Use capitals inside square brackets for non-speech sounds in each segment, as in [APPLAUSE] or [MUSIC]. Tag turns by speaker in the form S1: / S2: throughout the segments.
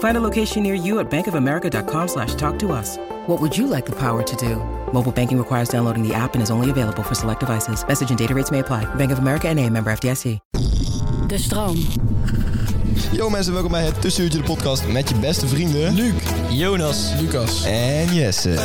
S1: Find a location near you at bankofamerica.com slash talk to us. What would you like the power to do? Mobile banking requires downloading the app and is only available for select devices. Message and data rates may apply. Bank of America and a member FDIC.
S2: De stroom.
S3: Yo mensen, welkom bij het Tussenuurtje de podcast met je beste vrienden... Luc, Jonas, Lucas en Jesse.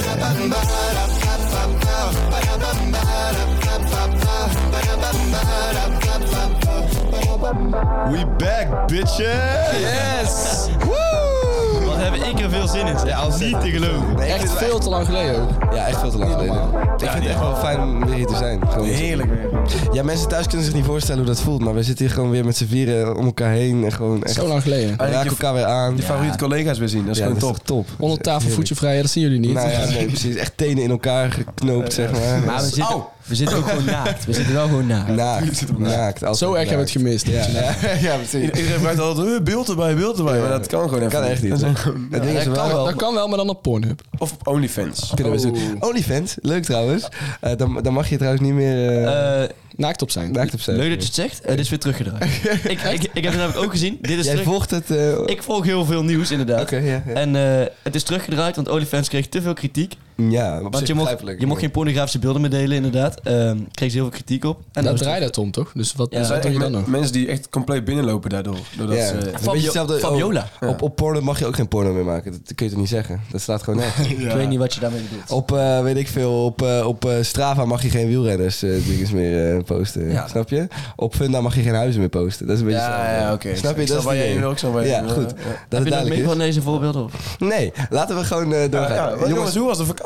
S3: We back, bitches! Yes! Woo!
S4: Wat heb ik er veel zin in? zeg.
S3: Ja, als niet te geloven.
S4: Echt veel
S3: te lang geleden ook. Ja, echt veel te lang geleden. Ik vind het echt wel fijn om weer hier te zijn. Gewoon met z'n-
S4: Heerlijk weer.
S3: Ja, mensen thuis kunnen zich niet voorstellen hoe dat voelt, maar we zitten hier gewoon weer met z'n vieren om elkaar heen en gewoon echt...
S5: Zo lang geleden.
S3: We raken elkaar weer aan. Je
S4: Favoriete collega's weer zien, dat is
S3: Ja, dat
S4: gewoon
S3: is
S4: top.
S3: toch top.
S5: Onder tafel voetje vrij, ja, dat zien jullie niet.
S3: Nou
S4: [LAUGHS]
S3: ja, nee, precies. Echt tenen in elkaar geknoopt, zeg maar.
S6: Maar we zitten,
S3: Oh.
S6: we
S3: [LAUGHS]
S6: zitten ook gewoon naakt. We zitten wel gewoon naakt.
S3: Naakt. Naakt. altijd
S5: Zo erg hebben
S3: naakt.
S5: we het gemist.
S3: Nou, Ja, [LAUGHS] ja,
S4: [LAUGHS]
S3: ja, precies.
S4: Iedereen vraagt altijd, "Eh, beeld erbij, beeld erbij. Maar dat kan gewoon even
S3: Kan echt niet.
S4: Dat is
S3: hoor. Het ding is
S5: Dat kan,
S3: wel...
S5: dat kan wel, maar dan op Pornhub.
S4: ook- Of op OnlyFans.
S3: Kunnen we zo. OnlyFans, leuk trouwens. Eh, dan, dan mag je trouwens niet meer eh,
S6: Eh,
S5: Naakt op zijn.
S3: naakt op zijn.
S6: leuk dat je het zegt. Eh, dit is weer
S3: [LAUGHS]
S6: teruggedraaid. ik, ik, ik heb het namelijk ook gezien. Dit is
S3: Jij
S6: terug...
S3: volgt het... eh, Oké,
S6: Ik volg heel veel nieuws inderdaad.
S3: ja. ja.
S6: En eh, het is teruggedraaid, want OnlyFans kreeg te veel kritiek.
S3: Ja, op
S6: Want
S3: zich
S6: je mocht,
S3: begrijpelijk.
S6: je mocht geen pornografische beelden meer delen, inderdaad. Ehm kreeg ze heel veel kritiek op. En
S5: En
S6: dat
S5: daar
S6: is
S5: draait dat om, toch? Dus wat
S6: Ja,
S5: wat
S6: dat
S5: doe je dan
S4: Men-
S5: nog?
S4: Mensen die echt compleet binnenlopen daardoor. Doordat
S3: Ja.
S4: ze-
S3: Een beetje
S6: Fabio-
S3: hetzelfde-
S6: Fabiola.
S3: Oh, Op, op porno mag je ook geen porno meer maken. Dat kun je toch niet zeggen? Dat staat gewoon nergens.
S4: [LAUGHS]
S6: terug. Ik weet niet wat je daarmee bedoelt.
S3: Op, eh, weet ik veel, op, eh, op eh, Strava mag je geen wielrenners eh, dinges meer eh, posten.
S6: Ja.
S3: Snap je? Op Funda mag je geen huizen meer posten. Dat is een beetje
S4: Ja,
S3: hetzelfde.
S4: ja, oké.
S3: Snap je?
S4: Ik
S3: dat
S4: snap
S3: is
S4: waar
S3: het
S4: jij
S3: idee.
S4: nu ook zo bij-
S3: Ja, goed.
S4: ja, ja.
S3: Dat
S6: heb
S3: het
S6: je nog
S3: duidelijk
S6: meer
S3: is.
S6: van deze voorbeelden? Of?
S3: Nee, laten we gewoon eh,
S4: Ja,
S3: doorgaan.
S4: ja,
S3: jongens,
S4: jongens, hoe was de vakantie?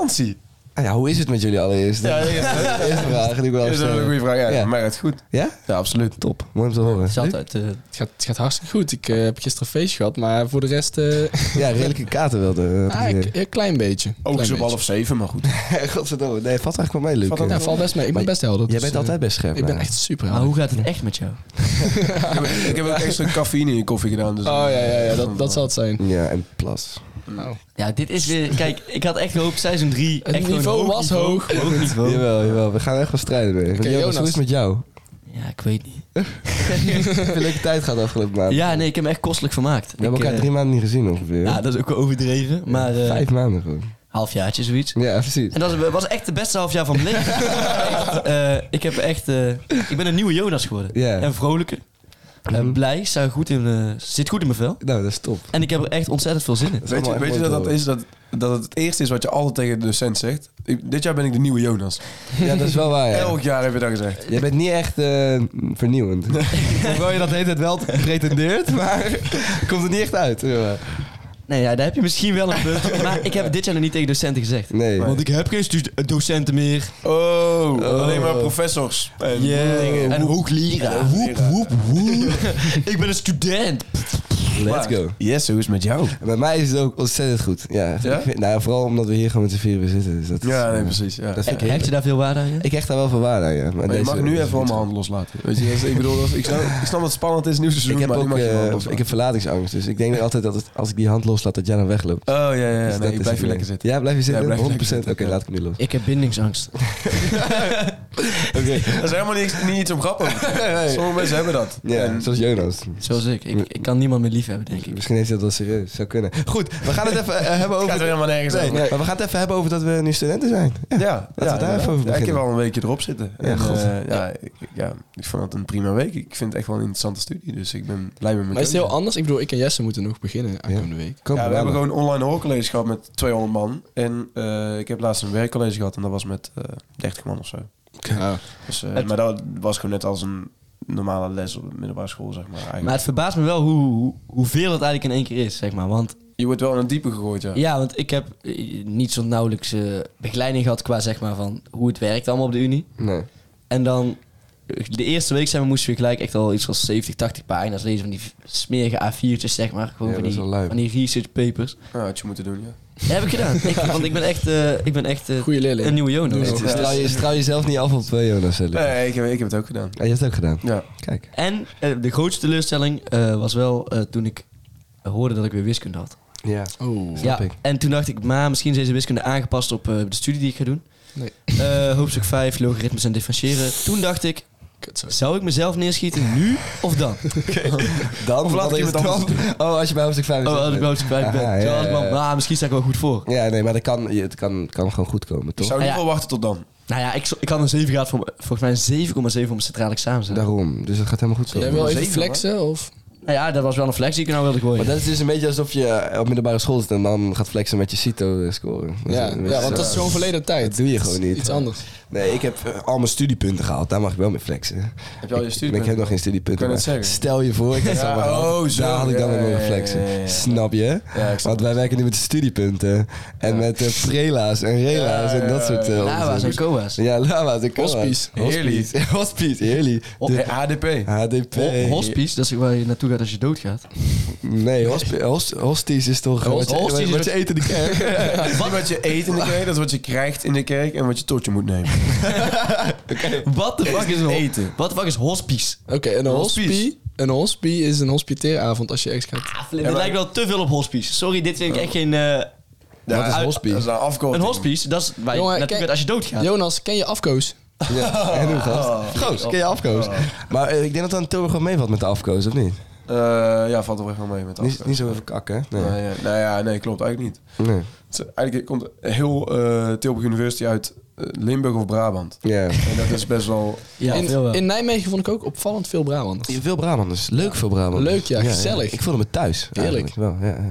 S3: ah, ja, hoe is het met jullie allereerst?
S4: Ja, ja, ja.
S3: Dat is de [LAUGHS] eerste vraag die ik wil
S4: Dat is wel een
S3: stellen.
S4: goede vraag. Ja,
S3: eh, Ja.
S4: mij gaat het goed.
S3: Ja?
S4: Ja, absoluut. Top.
S3: Mooi om te horen.
S6: Het is altijd... eh,
S5: Het gaat, het gaat hartstikke goed. Ik eh, heb gisteren een feest gehad, maar voor de rest eh
S3: [LAUGHS] Ja, redelijke kater wel. eh,
S5: [LAUGHS] ah, ik- een klein beetje.
S4: Ook
S5: Klein
S4: zo op
S5: beetje.
S4: half zeven, maar goed. [LAUGHS]
S3: [LAUGHS] Godverdomme. Nee, valt eigenlijk wel mee, Luc.
S4: Valt ook-
S5: Ja, valt best mee. Ik ben
S3: Maar
S5: best helder.
S3: Jij
S5: dus,
S3: bent
S5: eh,
S3: altijd best scherp.
S5: Ik ben
S3: hè?
S5: echt super
S6: maar
S5: helder.
S6: hoe gaat het echt met jou?
S4: ik, heb, ik heb ook extra cafeïne in je koffie gedaan. Dus
S5: Oh ja, ja, ja dat, dat zal het zijn.
S3: Ja, en plas.
S5: Nou,
S6: Ja, dit is weer... [LAUGHS] Kijk, ik had echt gehoopt seizoen 3...
S5: Het niveau was hoog.
S3: [LAUGHS]
S6: Hoog niveau.
S3: Jawel, jawel. We gaan echt wel strijden mee. Jonas,
S5: Jonas.
S3: hoe is het met jou?
S6: Ja, ik weet niet.
S3: Heb je een leuke tijd gehad afgelopen maand?
S6: [LAUGHS] Ja, nee, ik heb me echt kostelijk vermaakt.
S3: We hebben
S6: Ik,
S3: elkaar
S6: eh,
S3: drie maanden niet gezien ongeveer.
S6: Ja, dat is ook wel overdreven, maar eh
S3: Vijf maanden gewoon.
S6: halfjaartje zoiets.
S3: Ja, precies.
S6: En dat was echt de beste halfjaar van mijn
S3: [LAUGHS]
S6: leven. Echt, eh, ik heb echt, eh, ik ben een nieuwe Jonas geworden.
S3: Ja.
S6: En vrolijker, en
S3: Mhm.
S6: blij, sta goed in, eh, zit goed in mijn vel.
S3: Nou, dat is top.
S6: En ik heb er echt ontzettend veel zin in.
S3: is
S4: Weet je,
S3: allemaal
S4: weet je dat
S3: echt
S4: dat
S3: mooi
S4: is? Dat, dat het het eerste is wat je altijd tegen de docent zegt. Ik- dit jaar ben ik de nieuwe Jonas.
S3: Ja, dat is wel waar.
S4: [LAUGHS]
S3: Ja.
S4: Elk jaar heb je dat gezegd.
S3: Jij bent niet echt eh, vernieuwend. Hoewel je dat de hele tijd wel pretendeert, maar [LAUGHS] komt er niet echt uit. Ja.
S6: Nee, ja, daar heb je misschien wel een punt. maar ik heb dit jaar nog niet tegen docenten gezegd.
S3: Nee.
S6: Want ik heb geen stu- docenten meer.
S4: Oh, alleen maar professors. En dingen.
S6: En hoogleraar. Woep, woep, woep. ik ben een student.
S3: Let's go.
S4: Yes, hoe is het met jou?
S3: Bij mij is het ook ontzettend goed. Ja.
S4: Ja?
S3: Ik vind- nou, vooral omdat we hier gewoon met z'n vieren weer zitten. Dus dat is,
S4: Ja, nee,
S3: eh,
S4: precies. Ja.
S3: Dat vind ik
S6: Heb
S3: heerlijk.
S6: je daar veel waarde aan? ja?
S3: Ik hecht daar wel van waarde aan, ja. Maar
S4: Maar je
S3: deze-
S4: mag nu even wel mijn hand loslaten. Weet je, dat is- ik bedoel, dat is-
S3: [LAUGHS]
S4: ik, snap, ik snap dat het spannend is, nieuw seizoen,
S3: Ik heb
S4: maar
S3: ook
S4: nu mag je wel
S3: eh,
S4: loslaten.
S3: ik heb verlatingsangst, dus ik denk altijd dat het- als ik die hand loslaat, dat jij dan wegloopt.
S4: Oh, ja, ja,
S3: [LAUGHS]
S4: ja.
S3: Dus dat
S4: Nee,
S3: is
S4: ik blijf
S3: het
S4: hier
S3: ding.
S4: lekker zitten.
S3: Ja, blijf je zitten?
S4: Ja, blijf je
S3: 100%? Oké,
S4: lekker zitten.
S3: laat ik hem nu los.
S6: Ik heb bindingsangst.
S3: [LAUGHS] Oké.
S4: Dat is helemaal niks, niet iets om grappig.
S3: [LAUGHS]
S4: Sommige mensen hebben dat.
S3: Ja,
S4: En-
S3: zoals Jonas.
S6: Zoals ik. ik. Ik kan niemand meer liefhebben, denk ik.
S3: Misschien heeft hij dat wel serieus. Zou kunnen. Goed, we gaan het even eh, hebben
S4: Het gaat er
S3: over...
S4: helemaal nergens
S3: Nee,
S4: over.
S3: maar we gaan het even hebben over dat we nu studenten zijn. Ja.
S4: Ja,
S3: Laten we daar even over
S4: Ja, ik heb
S3: beginnen.
S4: al een weekje erop zitten.
S3: Ja,
S4: en,
S3: god.
S4: eh, ja, ik, ik- ja, ik vond het een prima week. Ik vind het echt wel een interessante studie, dus ik ben blij met mijn
S5: Maar is het
S4: keuze.
S5: heel anders? Ik bedoel, ik en Jesse moeten nog beginnen aankomende week.
S3: Kopen
S4: Ja, we
S3: we
S4: hebben
S3: aan.
S4: gewoon online hoorcollege gehad met 200 man. En eh, ik heb laatst een werkcollege gehad en dat was met eh 30 man of zo.
S5: Nou,
S4: Dus, eh, maar dat was gewoon net als een normale les op de middelbare school, zeg maar. Eigenlijk.
S6: Maar het verbaast me wel hoe, hoe- hoeveel het eigenlijk in één keer is, zeg maar. Want
S4: Je wordt wel in het diepe gegooid, ja.
S6: ja, want ik heb eh, niet zo nauwelijks eh, begeleiding gehad qua zeg maar van hoe het werkt allemaal op de Unie.
S5: Nee.
S6: En dan, eh, de eerste week zijn we, moesten we gelijk echt al iets van 70, 80 pagina's lezen van die v- smerige A4'tjes, zeg maar. Gewoon
S3: Ja,
S6: van,
S3: dat is
S6: die,
S3: wel lui.
S6: van die research papers.
S4: Nou, had je moeten doen, ja.
S6: Dat heb ik
S3: [LAUGHS]
S6: gedaan. Ik, want ik ben echt, eh, ik ben echt eh,
S5: Goeie leerling.
S6: een nieuwe dus- Jonas.
S5: Doe
S4: nog.
S3: Straal, je, straal jezelf niet af op eh, Jonas. hè, Lucas?
S4: Nee, ik heb, ik heb het ook gedaan.
S3: Ah, je hebt het ook gedaan.
S4: Ja.
S3: Kijk.
S6: En eh, de grootste teleurstelling eh, was wel eh, toen ik hoorde dat ik weer wiskunde had.
S3: Ja.
S5: Oh.
S3: Snap
S6: ja,
S3: ik.
S6: en toen dacht ik, maar misschien is deze wiskunde aangepast op eh, de studie die ik ga doen.
S5: Nee.
S6: Eh, hoofdstuk 5, logaritmes en differentiëren. Toen dacht ik,
S5: Kut, sorry.
S6: zou ik mezelf neerschieten nu of
S3: [LAUGHS]
S6: dan? Oh,
S3: Dan
S6: Of laat
S3: wat
S6: ik
S3: is
S6: iemand
S3: dan?
S6: anders
S3: Oh, als je bij hoofdstuk 5
S6: Oh, als ik hoofdstuk 5 ben.
S3: Aha, ja,
S6: Toen dacht ik,
S3: ja, ja.
S6: maar, ah, misschien sta ik wel goed voor.
S3: Ja, nee, maar dat kan, je- het kan, kan gewoon goed komen,
S4: Ik
S3: toch?
S4: zou in
S6: Ah, ja.
S4: ieder geval wachten tot dan.
S6: Nou ja, ik, zo- ik had een 7 gehad, voor, m- volgens mij een 7,7 voor mijn centraal examen. zijn.
S3: Daarom. Dus dat gaat helemaal goed zo.
S5: Jij wil even
S4: Zeven,
S5: flexen of?
S6: Nou ja, dat was wel een flex die ik er nou wilde gooien.
S3: Maar dat is dus een beetje alsof je op middelbare school zit en dan gaat flexen met je CITO-scoren.
S5: Ja, ja, want dat is gewoon verleden tijd.
S3: eh, Dat doe je
S5: Dat is
S3: gewoon niet.
S5: Iets anders.
S3: Nee, ik heb eh, al mijn studiepunten gehaald. Daar mag ik wel mee flexen.
S4: Heb je al je
S3: Ik, ik
S4: studiepunten?
S3: heb nog geen studiepunten.
S4: Ik wou net
S3: maar
S4: zeggen.
S3: Stel je voor, ik had ze
S4: Ja,
S3: allemaal gehaald.
S4: oh, zo.
S3: Daar had ik dan
S4: Ja,
S3: weer mee
S4: ja, ja,
S3: flexen.
S4: ja, ja, ja.
S3: Snap je?
S4: Ja, ik snap
S3: want wij werken nu met de studiepunten. En met eh, prela's en rela's en dat soort eh,
S6: Lava's en
S3: onzin.
S6: koa's.
S3: Ja, lava's en koa's.
S5: Hospice.
S3: Hospice. [LAUGHS] Hospice, heerlijk. De
S4: Eh, HDP.
S3: HDP.
S6: Ho- Hospice, dat is waar je naartoe gaat als je doodgaat.
S3: Nee, hospi- hos- hosties is toch eh, [LAUGHS] wat je-
S6: Hosties is
S3: wat je
S6: wat-
S3: eet in de kerk.
S6: [LAUGHS]
S4: Dat is niet wat je eet in de kerk, dat is wat je krijgt in de kerk en wat je tot je moet nemen.
S6: Wat de fuck is
S4: eten.
S6: eten? Wat de fuck is hospice?
S5: Oké, een
S4: Hospice.
S5: hospie. Een hospie is een hospiteeravond als je ex gaat.
S6: Het lijkt wel te veel op hospice. Sorry, dit vind ik echt geen... eh,
S4: Ja,
S3: is
S4: uit-
S3: hospice?
S4: Dat is een
S6: een
S4: afkorting.
S6: hospice, dat is waar je
S5: Jongen,
S6: naartoe
S5: kijk-
S6: gaat als je doodgaat.
S5: Jonas, ken je afkoos?
S3: Ja, en hoe
S4: Oh.
S3: gast? Goos, ken je afkoos? Maar eh, ik denk dat dat in Tilburg wel meevalt met de afkoos, of niet?
S4: Eh, ja, valt er wel echt wel mee met de
S3: Niet,
S4: afkorting.
S3: niet zo even kak, hè? Nee.
S4: Nou ja, nou ja, nee, klopt eigenlijk niet.
S3: nee.
S4: Het is- Eigenlijk komt heel eh, Tilburg University uit eh, Limburg of Brabant.
S3: Ja.
S4: En dat is best wel...
S6: Ja, veel wel.
S5: in, in Nijmegen vond ik ook opvallend veel Brabanders.
S3: Veel Brabanders. Leuk veel Brabanders.
S5: Leuk, ja, gezellig.
S3: Ik voelde me thuis.
S5: Heerlijk.
S3: eigenlijk Wel, ja, ja.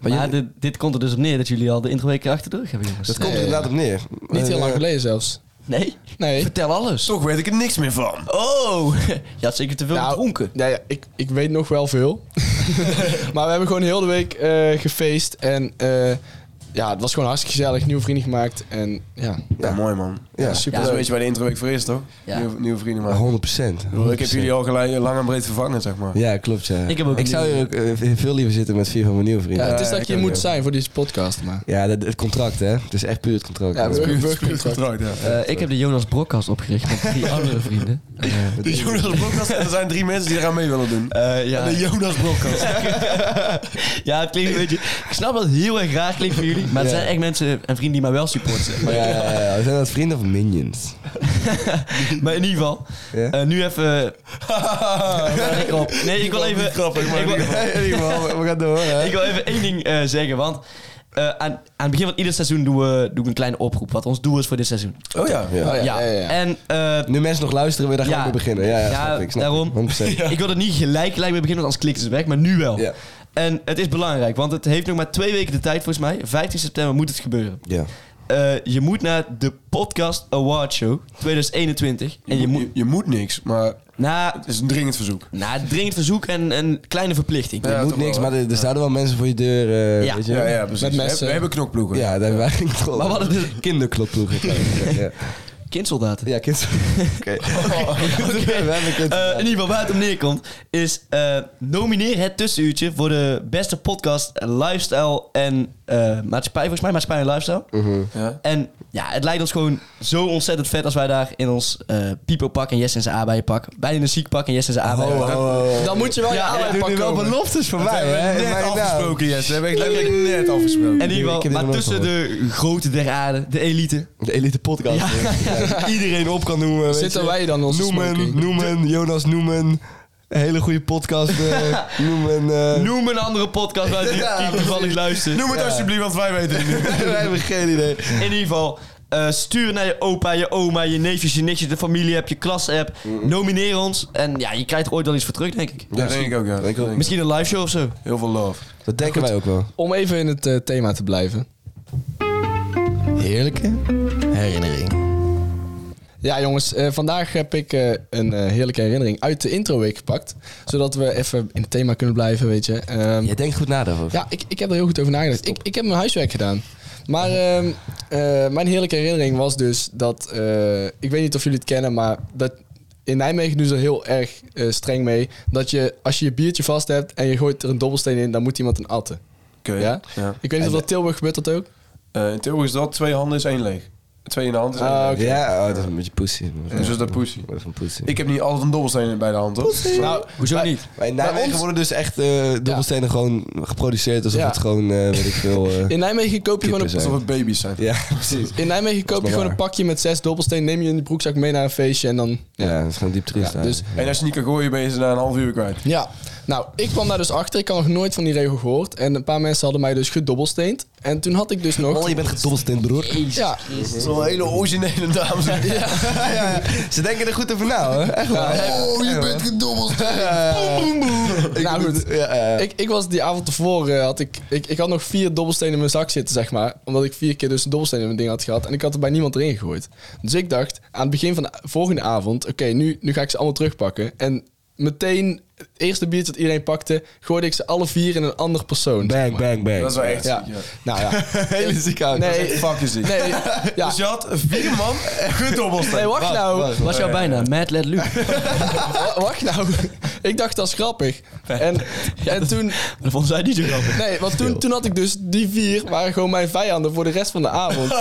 S3: Maar,
S6: Maar,
S3: jullie-
S6: dit, dit komt er dus op neer dat jullie al de introweek achter de rug hebben, jongens.
S3: dat komt er
S5: Nee.
S3: inderdaad op neer.
S5: Niet heel
S3: Eh,
S5: lang geleden zelfs.
S6: Nee?
S5: Nee.
S6: Vertel alles.
S4: Toch weet ik er niks meer van.
S6: Oh! [LAUGHS] Nou, Je had zeker te veel gedronken.
S5: Nou, Ja, ja, ik, ik weet nog wel veel. [LAUGHS] maar we hebben gewoon heel de week eh, gefeest. En eh, ja, het was gewoon hartstikke gezellig. Nieuwe vrienden gemaakt. En ja,
S4: Ja, mooi man.
S3: Ja,
S4: super.
S6: Ja.
S4: Dat is een beetje waar de intro week voor is, toch?
S6: Ja.
S4: Nieuwe, nieuwe vrienden
S3: maar
S4: maken.
S3: 100 eh, procent.
S4: Ik bedoel, Ik heb jullie al gelijk eh, lang en breed vervangen, zeg [LAUGHS] maar.
S3: Ja, klopt, ja.
S6: Ik heb ook een
S3: zou
S6: nieuwe-
S3: hier ook eh, veel liever zitten met vier van mijn nieuwe
S5: ja
S3: vrienden.
S5: het is
S4: Ja,
S5: dat
S4: ik
S5: je
S4: ook,
S5: moet
S4: ja.
S5: zijn voor deze podcast. Maar
S3: Ja, dat- het contract, hè? Het is echt puur het contract.
S5: Ja,
S3: man.
S5: we-
S4: Puur- puur het contract, ja.
S6: Eh, ik heb de Jonas Brokkast opgericht met drie [LAUGHS] andere vrienden.
S4: De Jonas Brokkast, en er zijn drie mensen die eraan mee willen doen.
S6: Eh, ja.
S4: De Jonas Brokkast.
S6: [LAUGHS] ja, het klinkt een beetje... Ik snap dat het heel erg raar klinkt voor jullie, maar het
S3: Ja.
S6: zijn echt mensen en vrienden die mij wel supporten.
S3: Ja, ja, ja, ja. Zijn dat vrienden of minions?
S6: Maar in ieder geval,
S3: Ja?
S6: eh, nu even...
S3: [LAUGHS]
S6: Lekker op. Nee, ik wil even... ik, wil, [LAUGHS]
S3: In ieder geval, we gaan door, hè?
S6: ik wil even één ding eh, zeggen, want eh, aan, aan het begin van ieder seizoen doen we, doe ik een kleine oproep. Wat ons doel is voor dit seizoen.
S4: Oh ja.
S3: Ja.
S5: ja, ja, ja.
S6: En eh,
S3: Nu mensen nog luisteren, wil je daar
S6: Ja.
S3: gewoon mee beginnen. Ja, ja,
S6: Ja,
S3: snap ik, snap
S6: daarom.
S3: ik. 100%.
S6: [LAUGHS] ik wil er niet gelijk gelijk mee beginnen, want anders klikken ze weg, maar nu wel.
S3: Ja.
S6: En het is belangrijk, want het heeft nog maar twee weken de tijd volgens mij. 15 september moet het gebeuren.
S3: Ja.
S6: Eh, je moet naar de Podcast Award Show 2021. En je moet
S4: je, je moet niks, maar
S6: na,
S4: het is een dringend verzoek.
S6: na dringend verzoek en een kleine verplichting.
S4: Ja,
S3: Je moet
S4: toch wel,
S3: niks,
S4: hè?
S3: maar er, er staan wel mensen voor je deur. eh,
S6: Ja.
S3: weet je?
S4: Ja,
S3: ja,
S4: ja, precies.
S5: Met messen.
S4: We, we hebben knokploegen.
S3: daar hebben wij geen controle.
S6: Maar wat
S3: over.
S6: het is-
S3: kinderkloploegen.
S4: [LAUGHS]
S3: ja,
S6: Kindsoldaten.
S3: ja [LAUGHS] kind. Oké.
S6: Oké.
S3: We hebben kind.
S6: [LAUGHS] Eh, in ieder geval, waar het om neerkomt, is eh, nomineer het tussenuurtje voor de beste podcast eh, lifestyle en eh, maatschappij, volgens mij maatschappij en lifestyle.
S3: Mhm.
S4: Ja.
S6: En ja, het lijkt ons gewoon zo ontzettend vet als wij daar in ons eh Pipo pak en Jess en zijn aardbeien pak, bijna in een ziek pak en Jess en zijn
S4: Oh,
S6: aardbeien pak.
S3: Oh.
S5: dan moet je wel je
S6: Ja, ik
S5: aandacht
S6: doe nu
S5: pakken.
S3: wel
S5: hoor.
S3: beloftes voor mij,
S4: We
S3: hè?
S4: hebben
S3: in
S4: net
S3: mijn naam.
S4: afgesproken, Jess. We hebben echt letterlijk net afgesproken.
S6: En in ieder
S3: Ik
S6: geval,
S3: heb dit
S6: maar
S3: nog nooit
S6: tussen de grote der aarde, de elite.
S3: De elite podcast. Ja. Iedereen op kan noemen. weet
S5: Zitten
S3: je.
S5: wij dan onze
S3: Noemen,
S5: smoking?
S3: noemen, Jonas noemen. Een hele goede podcast. eh, noemen. eh
S6: Noem een andere podcast waar
S5: [LAUGHS]
S6: die
S3: Ja,
S6: die toevallig luistert.
S4: Noem het alsjeblieft, want wij weten het niet.
S3: wij hebben geen idee.
S6: In ieder geval, eh, stuur naar je opa, je oma, je neefjes, je nichtjes, de familie heb je klas-app. Nomineer ons. En ja, je krijgt er ooit wel iets voor terug, denk ik.
S4: Ja, denk ik ook, ja.
S6: Misschien een live show of zo.
S4: Heel veel love.
S3: Dat denken wij ook wel.
S5: Om even in het eh, thema te blijven.
S3: Heerlijke herinnering.
S5: Ja, jongens, eh, vandaag heb ik eh, een eh, heerlijke herinnering uit de intro week gepakt. Zodat we even in het thema kunnen blijven, weet je. Ehm,
S3: Je denkt goed na daarover.
S5: ja, ik, ik heb er heel goed over nagedacht. Ik, ik heb mijn huiswerk gedaan. Maar ehm, eh, mijn heerlijke herinnering was dus dat... eh, ik weet niet of jullie het kennen, maar dat in Nijmegen doen ze er heel erg eh, streng mee. Dat je, als je je biertje vast hebt en je gooit er een dobbelsteen in, dan moet iemand een atten.
S4: Oké.
S5: Ja?
S4: Ja.
S5: Ik weet niet of dat Tilburg gebeurt dat ook.
S4: Eh, in Tilburg is dat twee handen is één leeg. Twee in de hand is één
S5: Ah,
S4: leeg.
S5: oké.
S3: Ja, oh, dat is een beetje pussy.
S4: Dus dat is dat poesie.
S3: Dat is een pussy.
S4: Ik heb niet altijd een dobbelsteen bij de hand, hoor.
S5: Nou,
S6: Hoezo niet?
S3: Maar in Nijmegen
S5: ons-
S3: worden dus echt eh dobbelstenen gewoon geproduceerd alsof
S5: Ja.
S3: het gewoon, eh, weet ik veel... eh,
S5: [LAUGHS] in Nijmegen koop je gewoon een
S3: Kippen
S4: Alsof het baby's zijn.
S3: Ja, precies.
S5: In Nijmegen koop je
S3: maar
S5: gewoon
S3: waar.
S5: een pakje met zes dobbelstenen, neem je in je broekzak mee naar een feestje en dan...
S3: Ja, dat is gewoon diep triest.
S5: Ja,
S3: Ja,
S5: dus-
S4: En als je niet kan gooien, ben je ze na een half uur kwijt.
S5: Ja, nou, ik kwam daar dus achter. Ik had nog nooit van die regel gehoord. En een paar mensen hadden mij dus gedobbelsteend. En toen had ik dus nog...
S3: Oh, je bent gedobbelsteend, broer.
S5: Ja,
S4: Dat is wel een hele originele dames. Ja.
S3: Ja, ja. Ze denken er goed over na, hoor. Echt waar.
S4: Oh, je bent
S3: Ik
S5: Nou,
S3: moet-
S5: goed.
S3: Ja, ja.
S5: ik, ik was die avond tevoren, eh, had ik, ik, ik had nog vier dobbelstenen in mijn zak zitten, zeg maar. Omdat ik vier keer dus een dobbelsteen in mijn ding had gehad. En ik had er bij niemand erin gegooid. Dus ik dacht, aan het begin van de volgende avond, oké, nu, nu ga ik ze allemaal terugpakken. En meteen, het eerste biertje dat iedereen pakte, gooide ik ze alle vier in een ander persoon.
S3: Bang, bang, bang.
S4: Dat is wel echt
S5: Ja,
S4: ziek, ja.
S5: nou ja.
S3: [LAUGHS] hele zieke auto.
S5: Nee.
S4: Dat is echt fucking ziek.
S5: Nee, ja.
S3: [LAUGHS]
S4: Dus je had vier man en gedobbelsteend.
S5: Nee, wacht nou.
S3: wacht.
S6: [LAUGHS] Was jou bijna Mad Led Luke.
S5: Wa- [LAUGHS] Wacht nou. Ik dacht, dat is grappig. En, en
S4: [LAUGHS]
S5: toen...
S6: Dat vond zij niet zo grappig.
S5: Nee, want toen, toen had ik dus... Die vier waren gewoon mijn vijanden voor de rest van de
S4: [LAUGHS]
S5: avond.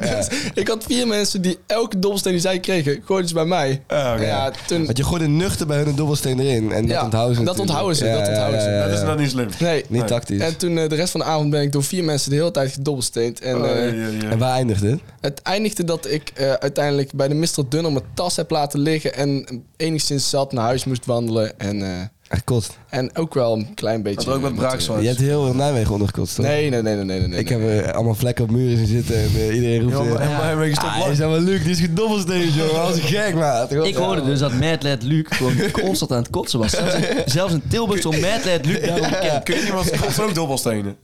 S5: Dus ik had vier mensen die elke dobbelsteen die zij kregen... gooiden ze bij mij.
S4: Ah, oké.
S5: Ja, toen...
S3: Want je gooit een nuchter bij hun een dobbelsteen erin. En dat
S5: Ja,
S3: onthouden ze
S5: dat
S3: natuurlijk.
S5: onthouden ze,
S3: Ja,
S5: dat
S3: ja,
S5: onthouden ze.
S3: ja, ja,
S4: Dat is
S3: ja.
S4: dan niet slim.
S5: Nee.
S3: Niet tactisch.
S5: En toen eh, de rest van de avond ben ik door vier mensen de hele tijd gedobbelsteend. En
S4: Oh,
S5: eh,
S4: ja, ja, ja.
S3: En waar eindigt het?
S5: het eindigde dat ik eh, uiteindelijk bij de Mr. Dunner mijn tas heb laten liggen. En enigszins zat naar huis moest wandelen. En, eh,
S3: Echt kost.
S5: en ook wel een klein beetje... eh,
S4: Had er ook met braakswaarts.
S3: Je hebt heel heel Nijmegen ondergekotst, toch?
S5: Nee, nee, nee, nee, nee. nee, nee.
S3: Ik heb eh, allemaal vlekken op muren zien zitten en eh, iedereen roept...
S4: Ja, maar-
S3: eh,
S4: en maar- maar je stopt
S3: ah,
S4: lang.
S3: is dat wel leuk? Die is gedobbelsteend,
S5: [LAUGHS]
S3: joh. Dat is gek, maat.
S6: Ik hoorde dus dat Mad Led Luke gewoon constant aan het kotsen was. Zelfs in, zelfs in Tilburg stond Mad Led Luke daarom bekend.
S4: Kun je iemand zijn kots ook dobbelstenen?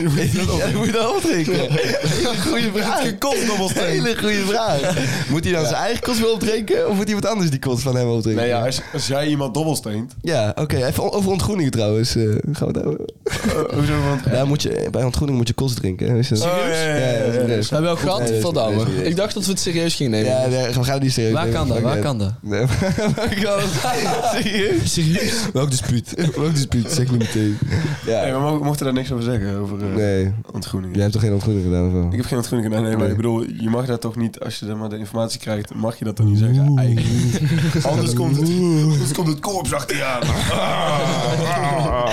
S3: Ja, dat moet je dan opdrinken.
S4: [LAUGHS]
S3: Goeie vraag.
S4: Een kotsdobbelsteen.
S3: Hele goede vraag. Moet hij dan zijn eigen kots wel opdrinken? Of moet iemand anders die kots van hem opdrinken?
S4: Nee, ja, als, als jij iemand dobbelsteent...
S3: Ja, oké. Even o- over ontgroening trouwens. eh, gaan we daar...
S4: eh, hoezo, want...
S3: Daar moet je, bij ontgroening moet je kots drinken. hè, Is dat...
S4: Oh, ja, ja, ja, ja, ja.
S3: nee.
S5: We hebben wel gehad,
S3: Nee,
S5: verdamme.
S3: nee, nee, nee.
S5: ik dacht dat we het serieus gingen nemen.
S3: Ja, nee, we gaan het niet serieus
S6: Waar
S3: nemen.
S6: kan dat?
S3: Fuck
S6: Waar
S3: it.
S6: kan dat?
S3: Nee, waar kan dat? Serieus?
S6: Serieus?
S3: Welk dispuut? [LAUGHS] Welk dispuut? Zeg me meteen. Ja.
S4: Nee, we mo- mochten daar niks over zeggen, over eh,
S3: Nee.
S4: ontgroeningen.
S3: Jij hebt toch geen ontgroening gedaan
S4: [LAUGHS]
S3: of wel?
S4: Ik heb geen ontgroeningen gedaan, nee, maar
S3: Nee.
S4: ik bedoel, je mag dat toch niet, als je dan maar de informatie krijgt, mag je dat dan niet zeggen, eigenlijk.
S3: [LAUGHS]
S4: Anders komt het, anders komt het korps achter je aan. Ah,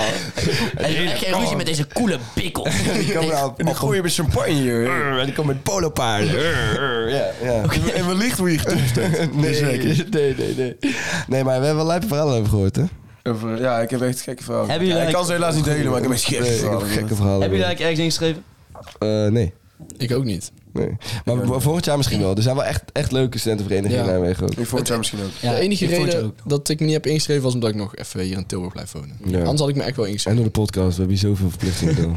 S6: En geen ruzie met deze coole bikkel.
S3: Die komen nou op-
S4: En dan gooi je met champagne hier. [LAUGHS]
S3: En die komt met polopaarden. Ja, ja.
S4: En wellicht hoe je getoefd hebt.
S3: [LAUGHS] Nee,
S4: Zeker.
S3: nee, nee, nee. Nee, maar we hebben wel lijpe verhalen over gehoord, hè?
S4: Over- ja, ik heb echt gekke verhalen.
S6: Hebben jullie
S4: Ja, ik kan ze helaas niet delen, maar ik heb echt gekke
S3: Nee, ik heb
S4: verhalen.
S3: gekke verhalen.
S6: Hebben jullie eigenlijk ergens ingeschreven?
S3: Eh, nee.
S5: Ik ook niet.
S3: nee. Maar vo- volgend jaar misschien wel. Er zijn wel echt, echt leuke studentenverenigingen
S5: Ja.
S3: in Nijmegen ook.
S4: Ik vond het jou misschien ook.
S5: de enige
S6: ik vond je
S5: reden
S6: ook.
S5: dat ik me niet heb ingeschreven was omdat ik nog even hier in Tilburg blijf wonen.
S3: Ja.
S5: Anders had ik me echt wel ingeschreven.
S3: En door de podcast, we hebben hier zoveel verplichtingen. [LAUGHS] Bill.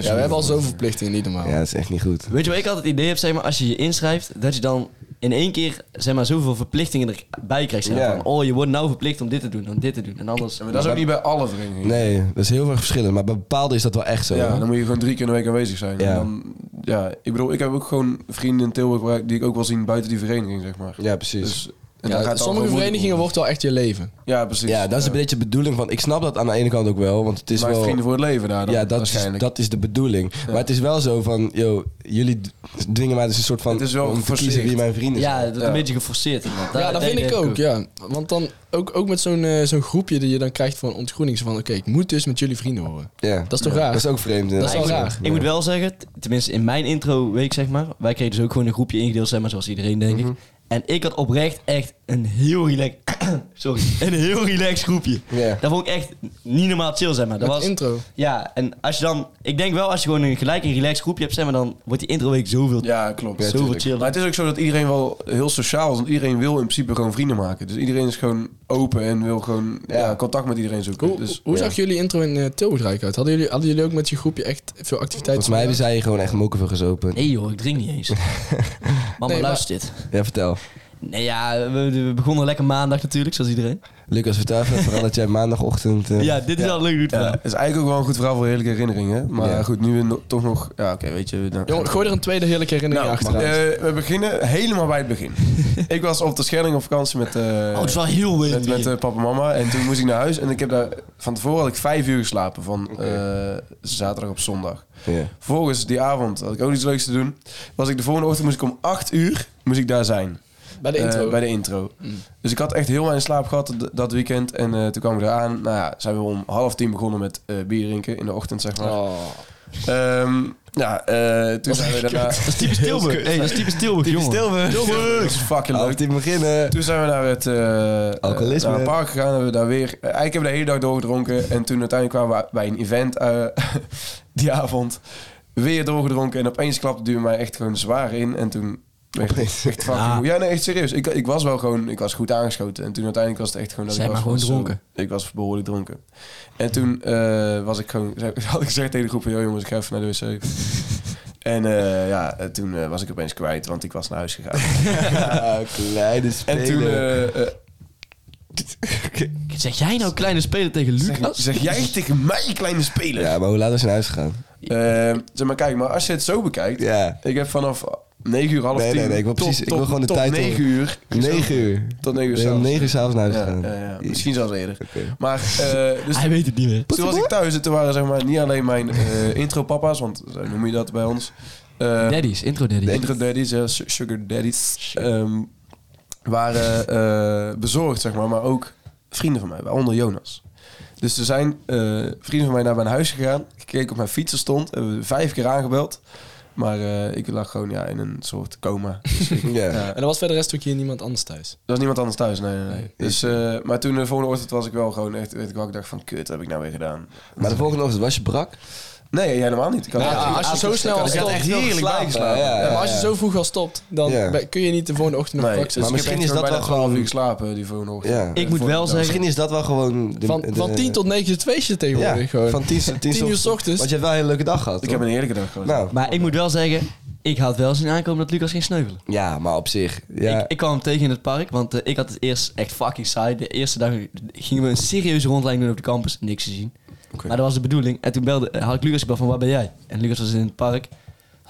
S5: Ja, we hebben al zoveel verplichtingen, niet normaal.
S3: ja, dat is echt niet goed.
S6: Weet je wat ik altijd het idee heb, zeg maar, als je je inschrijft, dat je dan in één keer, zeg maar, zoveel verplichtingen erbij krijgt. Zeg maar,
S3: Ja.
S6: van, oh, je wordt nou verplicht om dit te doen, dan dit te doen en anders.
S4: Maar dat is ook niet bij alle verenigingen.
S3: Nee, dat is heel erg verschillend. Maar bij bepaalde is dat wel echt zo.
S4: Ja,
S3: hoor.
S4: dan moet je gewoon drie keer in de week aanwezig zijn.
S3: Ja.
S4: En dan, ja, ik bedoel, ik heb ook gewoon vrienden in Tilburg waar- die ik ook wel zien buiten die vereniging, zeg maar.
S3: ja precies.
S4: Dus, en dan
S5: Ja,
S4: gaat het
S5: sommige
S4: allemaal
S5: verenigingen
S4: moeilijk
S5: wordt wel echt je leven.
S4: worden. dus- Ja, precies.
S3: ja, dat is een beetje de bedoeling van... Ik snap dat aan de ene kant ook wel, want het is
S4: Je maakt
S3: wel...
S4: vrienden voor het leven daar dan,
S3: ja, dat is,
S4: waarschijnlijk.
S3: dat is de bedoeling. Maar het is wel zo van, yo, jullie d- dwingen mij dus een soort van...
S4: Het is wel
S3: om te kiezen
S4: geforceerd.
S3: wie mijn vrienden zijn.
S6: Ja, dat is een beetje geforceerd.
S5: ja,
S6: inderdaad. Daar-
S5: dat
S6: daar
S5: vind
S6: idee
S5: ik
S6: heb
S5: ook, ja. Want dan ook, ook met zo'n eh, zo'n groepje die je dan krijgt van ontgroening. Zo van, oké, ik moet dus met jullie vrienden horen.
S3: Ja.
S5: Dat is toch raar?
S3: Dat is ook vreemd.
S5: Dat is wel
S3: inderdaad.
S5: raar.
S6: Ik moet wel zeggen, t- tenminste in mijn intro week zeg maar, wij kregen dus ook gewoon een groepje ingedeeld, zeg maar, zoals iedereen denk ik. En ik had oprecht echt een heel relax, [COUGHS] sorry, een heel relaxed groepje.
S3: Ja.
S6: Dat vond ik echt niet normaal chill, zeg maar. Dat
S5: Met
S6: was,
S5: intro.
S6: Ja, en als je dan, ik denk wel als je gewoon een gelijk een relaxed groepje hebt, zeg maar, dan wordt die intro week zoveel,
S4: Ja, klopt.
S6: zoveel chill.
S4: Maar het is ook zo dat iedereen wel heel sociaal is. Want iedereen wil in principe gewoon vrienden maken. Dus iedereen is gewoon open en wil gewoon ja. contact met iedereen zoeken.
S5: Hoe,
S4: dus,
S5: hoe
S4: ja.
S5: zag jullie intro in eh, Tilburg eruit? uit? Hadden jullie, hadden jullie ook met je groepje echt veel activiteiten?
S3: Volgens mij hebben zij gewoon echt mokken voor gezopen.
S6: Nee joh, ik drink niet eens. Mama,
S5: Nee, maar-
S6: luister dit.
S3: Ja, vertel.
S6: Nee, ja, we, we begonnen lekker maandag natuurlijk, zoals iedereen.
S3: Lucas, vertel even vooral dat jij maandagochtend... eh,
S6: Ja, dit is al een goed
S4: Ja,
S6: verhaal.
S4: het is eigenlijk ook wel een goed verhaal voor heerlijke herinneringen. Maar
S3: Ja.
S4: goed, nu we no- toch nog... Ja, oké, weet je... dan-
S5: Jongen, gooi er een tweede heerlijke herinnering
S4: nou,
S5: achteraan.
S4: eh, we beginnen helemaal bij het
S5: [LAUGHS]
S4: begin. ik was op de Schelling op vakantie met... eh,
S5: Oh,
S6: Oh, wel heel
S4: met, met eh, papa en mama. En toen moest ik naar huis. En ik heb daar... Van tevoren had ik vijf uur geslapen. Van eh, zaterdag op zondag.
S3: ja.
S4: Vervolgens, die avond, had ik ook iets leuks te doen. Was ik de volgende ochtend, moest ik om 8 uur moest ik daar zijn.
S5: bij de intro. Mm.
S4: Eh, bij de intro. Dus ik had echt heel weinig slaap gehad d- dat weekend. En eh, toen kwam ik eraan. Nou ja, zijn we om half tien begonnen met eh, bier drinken in de ochtend, zeg maar.
S5: Oh.
S4: Ehm, ja, eh, toen zijn we daarna... Dat is typisch Tilburg.
S6: Hey, dat is typisch Tilburg, jongen.
S4: Tilburg. [LAUGHS] Dat is fucking leuk.
S3: Altijd
S4: [LAUGHS]
S3: beginnen.
S4: Toen zijn we naar het, eh,
S3: Alcoholisme.
S4: naar het park gegaan. Hebben we daar weer, eh, eigenlijk hebben we de hele dag doorgedronken. En toen uiteindelijk kwamen we bij een event eh, [LAUGHS] die avond weer doorgedronken. En opeens klapte duur mij echt gewoon zwaar in. En toen werd ik
S3: Opeens.
S4: echt fucking moe. Ja, nee, echt serieus. Ik, ik was wel gewoon, ik was goed aangeschoten. En toen uiteindelijk was het echt gewoon dat
S6: Zij
S4: ik was
S6: maar gewoon
S4: zo-
S6: dronken.
S4: ik was behoorlijk dronken. En toen eh, was ik gewoon, [LAUGHS] had ik gezegd tegen de groep van, joh jongens, ik ga even
S6: [LAUGHS]
S4: naar de wc. En eh, ja, eh, toen eh, was ik opeens kwijt, want ik was naar huis
S6: [LAUGHS]
S4: gegaan.
S3: Ja, [LAUGHS] kleine
S4: En
S3: speler.
S4: toen, eh, eh,
S6: Zeg jij nou kleine speler tegen
S4: Zeg,
S6: Lucas?
S4: zeg jij tegen mij, kleine speler?
S3: Oh. Ja, maar hoe laat was je naar huis gegaan?
S4: Eh, zeg maar, kijk, maar als je het zo bekijkt...
S3: Ja.
S4: Ik heb vanaf 9 uur, half
S3: Nee,
S4: 10...
S3: nee, nee, ik wil
S4: tot-
S3: precies- ik wil
S4: tot-
S3: gewoon de
S4: tot
S3: tijd
S4: 9 uur.
S3: Negen uur.
S4: Tot
S3: Ben
S4: 9 uur
S3: je om
S4: s'avonds.
S3: negen uur s'avonds naar huis
S4: Ja,
S3: gegaan?
S4: ja, ja, misschien zelfs eerder.
S3: Oké.
S4: Maar
S3: [LAUGHS]
S4: eh, dus
S6: Hij weet het niet meer.
S4: toen was ik thuis en toen waren zeg maar, niet alleen mijn eh, intro-papa's... want zo noem je dat bij ons... eh,
S6: Daddies, intro daddies.
S4: de Intro-daddies, ja, su- sugar daddies... ehm, waren eh, bezorgd, zeg maar, maar ook vrienden van mij, waaronder Jonas. Dus er zijn eh, vrienden van mij naar mijn huis gegaan. Gekeken of mijn fiets er stond. Hebben we vijf keer aangebeld. Maar eh, ik lag gewoon ja, in een soort coma. Dus ik-
S3: Ja.
S4: ja,
S5: En dan was verder rest ook hier niemand anders thuis.
S4: er was niemand anders thuis. Nee, nee, nee. Dus, eh, maar toen de volgende ochtend was ik wel gewoon echt... Weet ik wel, ik dacht van, kut, wat heb ik nou weer gedaan?
S3: Maar de volgende ochtend was je brak?
S4: Nee, jij helemaal niet. Ik had
S5: Ja,
S4: echt-
S5: als je zo snel al
S4: ik had
S5: stopt,
S4: echt heerlijk bijgeslapen.
S3: Ja, ja,
S5: maar als je
S3: ja.
S5: zo vroeg al stopt, dan
S3: Ja.
S5: ben- kun je niet de volgende ochtend nog
S4: Nee,
S5: wakker
S4: dus
S5: zijn.
S4: ik heb
S3: misschien
S4: echt
S3: is dat
S4: bijna
S3: wel
S4: 12
S3: gewoon-
S4: uur geslapen die volgende ochtend.
S3: Ja.
S6: Ik moet wel zeggen,
S3: Misschien is dat wel gewoon... de-
S5: Van,
S3: de-
S5: van 10 tot 9 is het feestje tegenwoordig
S3: Ja,
S5: gewoon.
S3: van 10
S4: [LAUGHS]
S3: tot 10
S5: 10 uur 's ochtends.
S3: Want je hebt wel een hele leuke dag gehad.
S4: Ik
S3: toch?
S4: heb een heerlijke dag gehad.
S3: Nou,
S6: maar ik moet wel zeggen, ik had wel zien aankomen dat Lucas ging sneuvelen.
S3: ja, maar op zich. Ja.
S6: Ik,
S3: [LAUGHS]
S6: ik kwam hem tegen in het park, want eh, ik had het eerst echt fucking saai. De eerste dag gingen we een serieuze rondleiding doen op de campus, niks te zien. Maar dat was de bedoeling. En toen belde, eh, had ik Lucas gebeld van, waar ben jij? En Lucas was in het park.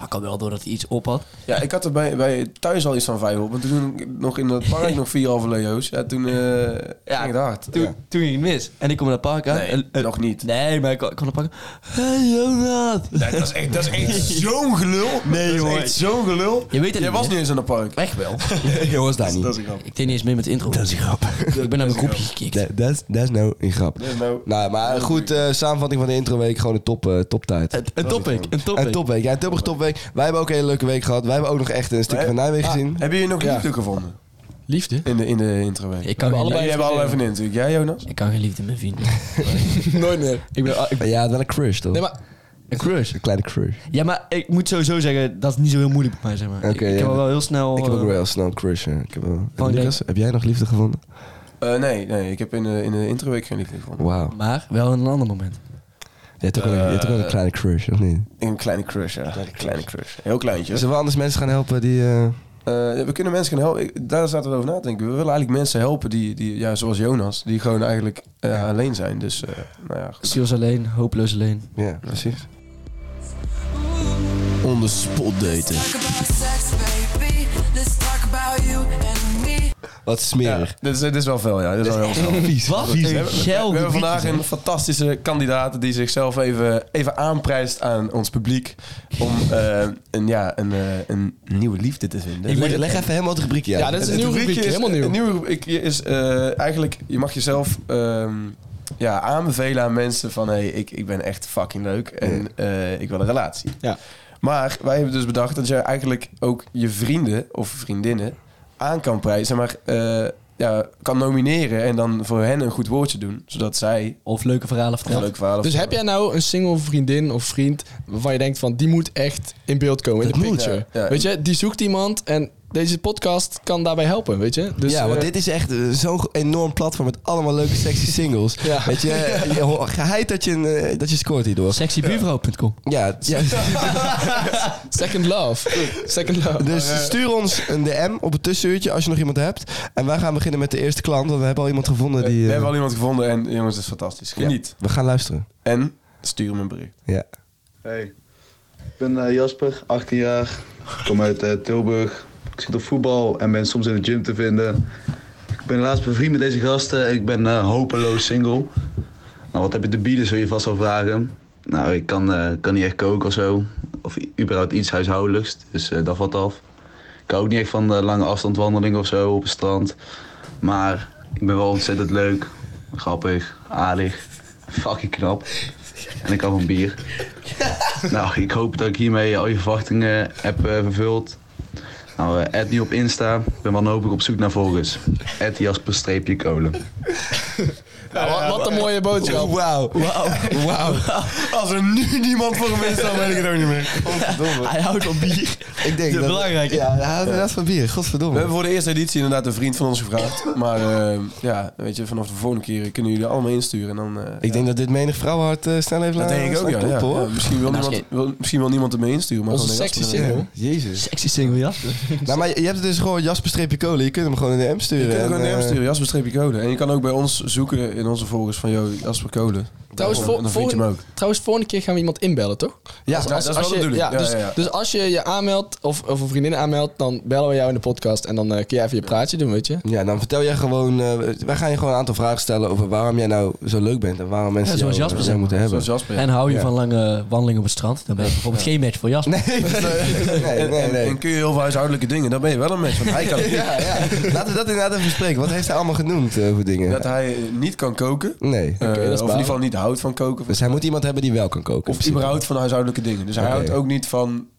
S6: Ik had wel door dat hij iets op had.
S4: Ja, ik had er bij, bij thuis al iets van vijf op. Want toen nog in dat
S6: [LAUGHS]
S4: park nog vier halve leo's. Ja, toen eh ging het hard.
S6: Toen,
S4: Ja.
S6: toen ging het mis. En ik kom naar het park aan.
S4: Nee,
S6: en, en-
S4: nog niet.
S6: Nee, maar ik kon, ik kon naar het park. Hey Jonas!
S4: Nee, dat is echt, dat is
S6: [LAUGHS]
S4: echt zo'n gelul. Nee, dat is echt zo'n gelul.
S6: Je weet het
S4: Jij
S6: niet,
S4: was
S6: hè?
S4: niet eens aan het park.
S6: Echt wel.
S3: jongens, daar niet.
S4: Dat is een grap.
S6: ik deed niet eens mee met de intro. Dat is grappig. Ik ben naar mijn groepje gekikt.
S3: Dat dat is dat is nou een grap.
S4: Dat is nou-
S3: Nou, maar goed, eh, samenvatting van de introweek. Gewoon een top, eh, toptijd.
S6: Een, een topic, een topic.
S3: Een topweek. Ja, Tilburg topweek. Wij hebben ook een hele leuke week gehad. Wij Ah, hebben ook nog echt een stukje van
S4: Maar-
S3: Nijmegen gezien.
S4: Ah, Hebben jullie nog liefde gevonden?
S5: Liefde?
S4: In de, in de introweek.
S6: Ik kan, geen,
S4: Jullie
S5: allebei-
S6: liefde-
S4: hebben allemaal even in natuurlijk. Jij, Jonas?
S6: ik kan geen liefde meer vinden.
S5: Nooit meer.
S6: ik ben, ik-
S3: Maar Ja, wel een crush toch?
S5: Nee, maar
S6: een crush.
S3: [LAUGHS] Een kleine crush.
S6: Ja, maar ik moet sowieso zeggen, dat is niet zo heel moeilijk bij mij, zeg maar. ik,
S3: Oké,
S6: ik
S3: ja,
S6: heb
S3: dat-
S6: wel heel snel...
S3: Ik heb ook
S6: eh,
S3: wel heel snel een crush. hè. Ik heb wel... En
S6: Van
S3: Lucas, heb jij nog liefde gevonden?
S4: Eh, nee, nee, ik heb in de, in de introweek geen liefde gevonden.
S3: Wauw.
S6: Maar wel in een ander moment.
S3: Je hebt ook wel een, je hebt ook wel een kleine crush, of niet?
S4: Een kleine crush, ja. Een kleine crush. Heel kleintje.
S3: Zullen we anders mensen gaan helpen die... eh,
S4: Eh, we kunnen mensen gaan helpen. Ik- Daar zaten we over na te denken. We willen eigenlijk mensen helpen die, die ja, zoals Jonas, die gewoon eigenlijk eh, alleen zijn. Dus, eh, nou ja, goed.
S6: Sios alleen, hopeloos alleen.
S3: Ja, precies.
S7: Onder spot daten.
S2: Talk about sex, baby. Let's talk about you and me.
S3: Wat
S4: Ja,
S3: smerig.
S4: dit, is, dit is wel veel, ja. Dit is [LAUGHS] wel heel veel.
S6: Wat
S4: We
S6: een
S4: hebben, we
S6: gel.
S4: hebben vandaag een fantastische kandidaat die zichzelf even, even aanprijst aan ons publiek. Om eh, een, ja, een, eh, een nieuwe liefde te vinden.
S6: Ik
S3: Leg, leg even helemaal het rubriekje uit.
S5: Ja, dat is
S4: Het-
S5: een nieuw
S4: het
S5: rubriekje,
S4: rubriekje
S5: helemaal nieuw.
S4: Het nieuwe rubriekje is eh, eigenlijk, je mag jezelf ehm, ja, aanbevelen aan mensen van... hé, hey, ik, ik ben echt fucking leuk en eh, ik wil een relatie.
S5: Ja.
S4: Maar wij hebben dus bedacht dat je eigenlijk ook je vrienden of vriendinnen aan kan prijzen. Maar eh, ja, kan nomineren en dan voor hen een goed woordje doen. Zodat zij
S6: Of leuke verhalen
S4: een
S6: vertellen.
S4: leuk verhaal
S5: Dus heb jij nou een single vriendin of vriend waarvan je denkt van die moet echt in beeld komen in
S3: Dat
S5: de
S3: moet,
S5: picture?
S4: ja. Ja.
S5: Weet je, die zoekt iemand en deze podcast kan daarbij helpen, weet je? Dus,
S3: ja, want
S5: eh,
S3: dit is echt eh, zo'n g- enorm platform met allemaal leuke sexy singles.
S5: Ja.
S4: [LAUGHS]
S3: Weet je, eh, je ho- geheid dat je, een, eh, dat je scoort hierdoor.
S6: Sexybuurvrouw.com.
S3: Ja,
S4: [LAUGHS]
S3: ja.
S5: Second love. Second love.
S3: dus stuur ons een DM op het tussenuurtje als je nog iemand hebt. En wij gaan beginnen met de eerste klant, want we hebben al iemand gevonden die...
S4: We
S3: eh,
S4: hebben al iemand gevonden en jongens, het is fantastisch. Geniet.
S3: We gaan luisteren.
S4: En stuur hem een bericht.
S3: Ja.
S8: Hey, ik ben eh, Jasper, 18 jaar. Ik kom uit eh, Tilburg. Ik zit op voetbal en ben soms in de gym te vinden. Ik ben laatst bevriend met deze gasten en ik ben eh, hopeloos single. Nou, wat heb je te bieden, zul je vast wel vragen. Nou, ik kan, eh, kan niet echt koken of zo. Of i- überhaupt iets huishoudelijks, dus eh, dat valt af. Ik hou ook niet echt van eh, lange afstandwandelingen of zo op het strand. Maar ik ben wel ontzettend leuk, grappig, aardig, fucking knap. En ik hou van bier. [LAUGHS] Nou, ik hoop dat ik hiermee al je verwachtingen heb eh, vervuld. Nou, eh, add nu op Insta. Ik ben wanhopig op zoek naar volgers. Add Jasper-kolen.
S5: Wa- wat, een mooie boodschap.
S3: Wauw. [LAUGHS]
S4: Als er nu niemand voor hem is, dan weet ik het ook niet meer.
S6: Hij houdt op bier.
S3: Ik denk
S6: De
S3: dat...
S6: belangrijke.
S3: Ja, hij houdt inderdaad van bier.
S4: We
S3: Godverdomme.
S4: hebben voor de eerste editie inderdaad een vriend van ons gevraagd. Maar eh, ja, weet je, vanaf de volgende keer kunnen jullie allemaal insturen. En dan, eh,
S3: Ik denk dat dit menig vrouwenhart eh snel heeft
S4: dat
S3: laten
S4: denk ik ook, ja.
S3: staan
S4: ja.
S3: kloppen, hoor.
S4: Ja, misschien, wil
S6: Nou,
S4: niemand, wil- misschien wil niemand ermee insturen. Maar
S5: Onze
S4: gewoon
S5: sexy
S4: Jasper-
S5: single.
S3: Jezus.
S6: Sexy single, ja.
S3: Nou, maar je je hebt het dus gewoon Jasper-kolen. Je kunt hem gewoon in de M
S4: Je
S3: sturen.
S4: kunt ook
S3: En,
S4: gewoon een DM
S3: eh,
S4: sturen, Jasper-code. En je kan ook bij ons zoeken in onze volgers van, yo, Jasper Kolen.
S5: Trouwens,
S4: En
S5: vol-
S4: dan vind je hem ook.
S5: Trouwens, volgende keer gaan we iemand inbellen, toch?
S4: Ja, dat- dat is wel de
S5: je,
S4: bedoeling. Ja,
S5: dus,
S4: ja, ja.
S5: dus als je je aanmeldt of, of een vriendin aanmeldt, dan bellen we jou in de podcast en dan eh, kun jij even je praatje doen, weet je?
S3: Ja, dan vertel jij gewoon... eh, wij gaan je gewoon een aantal vragen stellen over waarom jij nou zo leuk bent. En waarom mensen
S6: Ja, zoals
S3: jou,
S6: Jasper
S3: jou
S6: zegt,
S3: moeten hebben.
S4: Zoals Jasper.
S6: En hou je van lange wandelingen op het strand? Dan ben je bijvoorbeeld geen match voor Jasper.
S3: [LAUGHS] Nee, nee,
S4: En,
S3: nee.
S4: en-
S3: nee.
S4: en kun je heel veel huishoudelijke dingen, dan ben je wel een mens. Want hij
S3: [LAUGHS]
S4: [LAUGHS] kan niet.
S3: Ja, ja. Laten we dat inderdaad even bespreken. Wat heeft hij allemaal genoemd eh, voor dingen?
S4: Dat hij eh, niet kan koken.
S3: Nee.
S4: Eh,
S5: dat is
S4: of in
S5: waar.
S4: ieder geval niet houdt van koken.
S3: Dus hij moet iemand hebben die wel kan koken. in
S4: Of
S3: principe.
S4: überhaupt van huishoudelijke dingen. Dus hij
S3: Oké.
S4: houdt ook niet van... eh,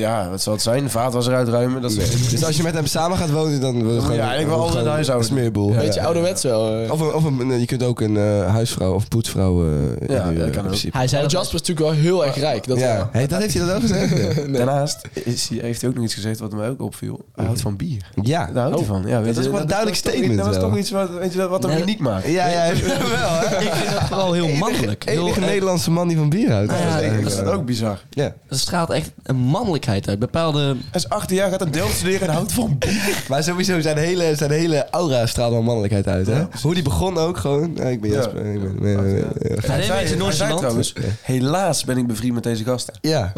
S4: Ja, wat zal het zijn? Vaatwasser uitruimen. Dat is
S3: Nee. Dus [LAUGHS] als je met hem samen gaat wonen, dan wil je gewoon...
S4: eigenlijk wel altijd
S3: gewoon
S4: huishouden.
S3: Een smeerboel.
S4: Ja,
S5: Beetje
S4: ja.
S5: ouderwets wel. eh.
S3: Of, een, of een, nee, je kunt ook een eh, huisvrouw of poetsvrouw eh
S4: Ja,
S3: inhuren,
S4: dat kan
S3: in
S4: ook.
S3: principe.
S6: Hij zei
S5: Want
S6: dat
S5: Jasper is natuurlijk wel heel erg rijk. Dat
S3: Ja. Hey, dat heeft hij dan ook gezegd?
S4: Daarnaast is, hij- heeft hij ook nog iets gezegd wat mij ook opviel. Hij houdt van bier.
S3: [LAUGHS] ja.
S4: Daar houdt hij van. Ja, weet
S3: Oh, is
S4: je,
S3: wel een duidelijk
S4: toch-
S3: statement
S4: Dat was
S3: wel.
S4: toch iets wat, weet je, wat hem
S6: Nee.
S4: uniek maakt.
S3: Ja, ja, wel. Hè?
S6: [LAUGHS] Ik vind dat vooral heel mannelijk.
S3: Enige,
S6: Heel,
S3: enige
S6: eh,
S3: Nederlandse man die van bier houdt.
S6: Nou ja,
S4: Dat
S3: ja,
S4: is- dat is ook bizar.
S6: dat straalt echt een mannelijkheid uit. Bepaalde...
S4: Hij is 18 jaar, gaat een deel studeren en houdt van bier.
S3: Maar sowieso, zijn hele, zijn hele aura straalt wel mannelijkheid uit. Hè? Hoe die begon ook gewoon. eh, ik ben
S4: Ja.
S3: Jasper. ik ben- ben- eh, ben- ben- ben-
S6: Hij
S4: Hij zei-
S6: deed een
S4: hij
S6: beetje
S4: zei
S6: nonchalant.
S4: trouwens, helaas ben ik bevriend met deze gasten.
S3: Ja.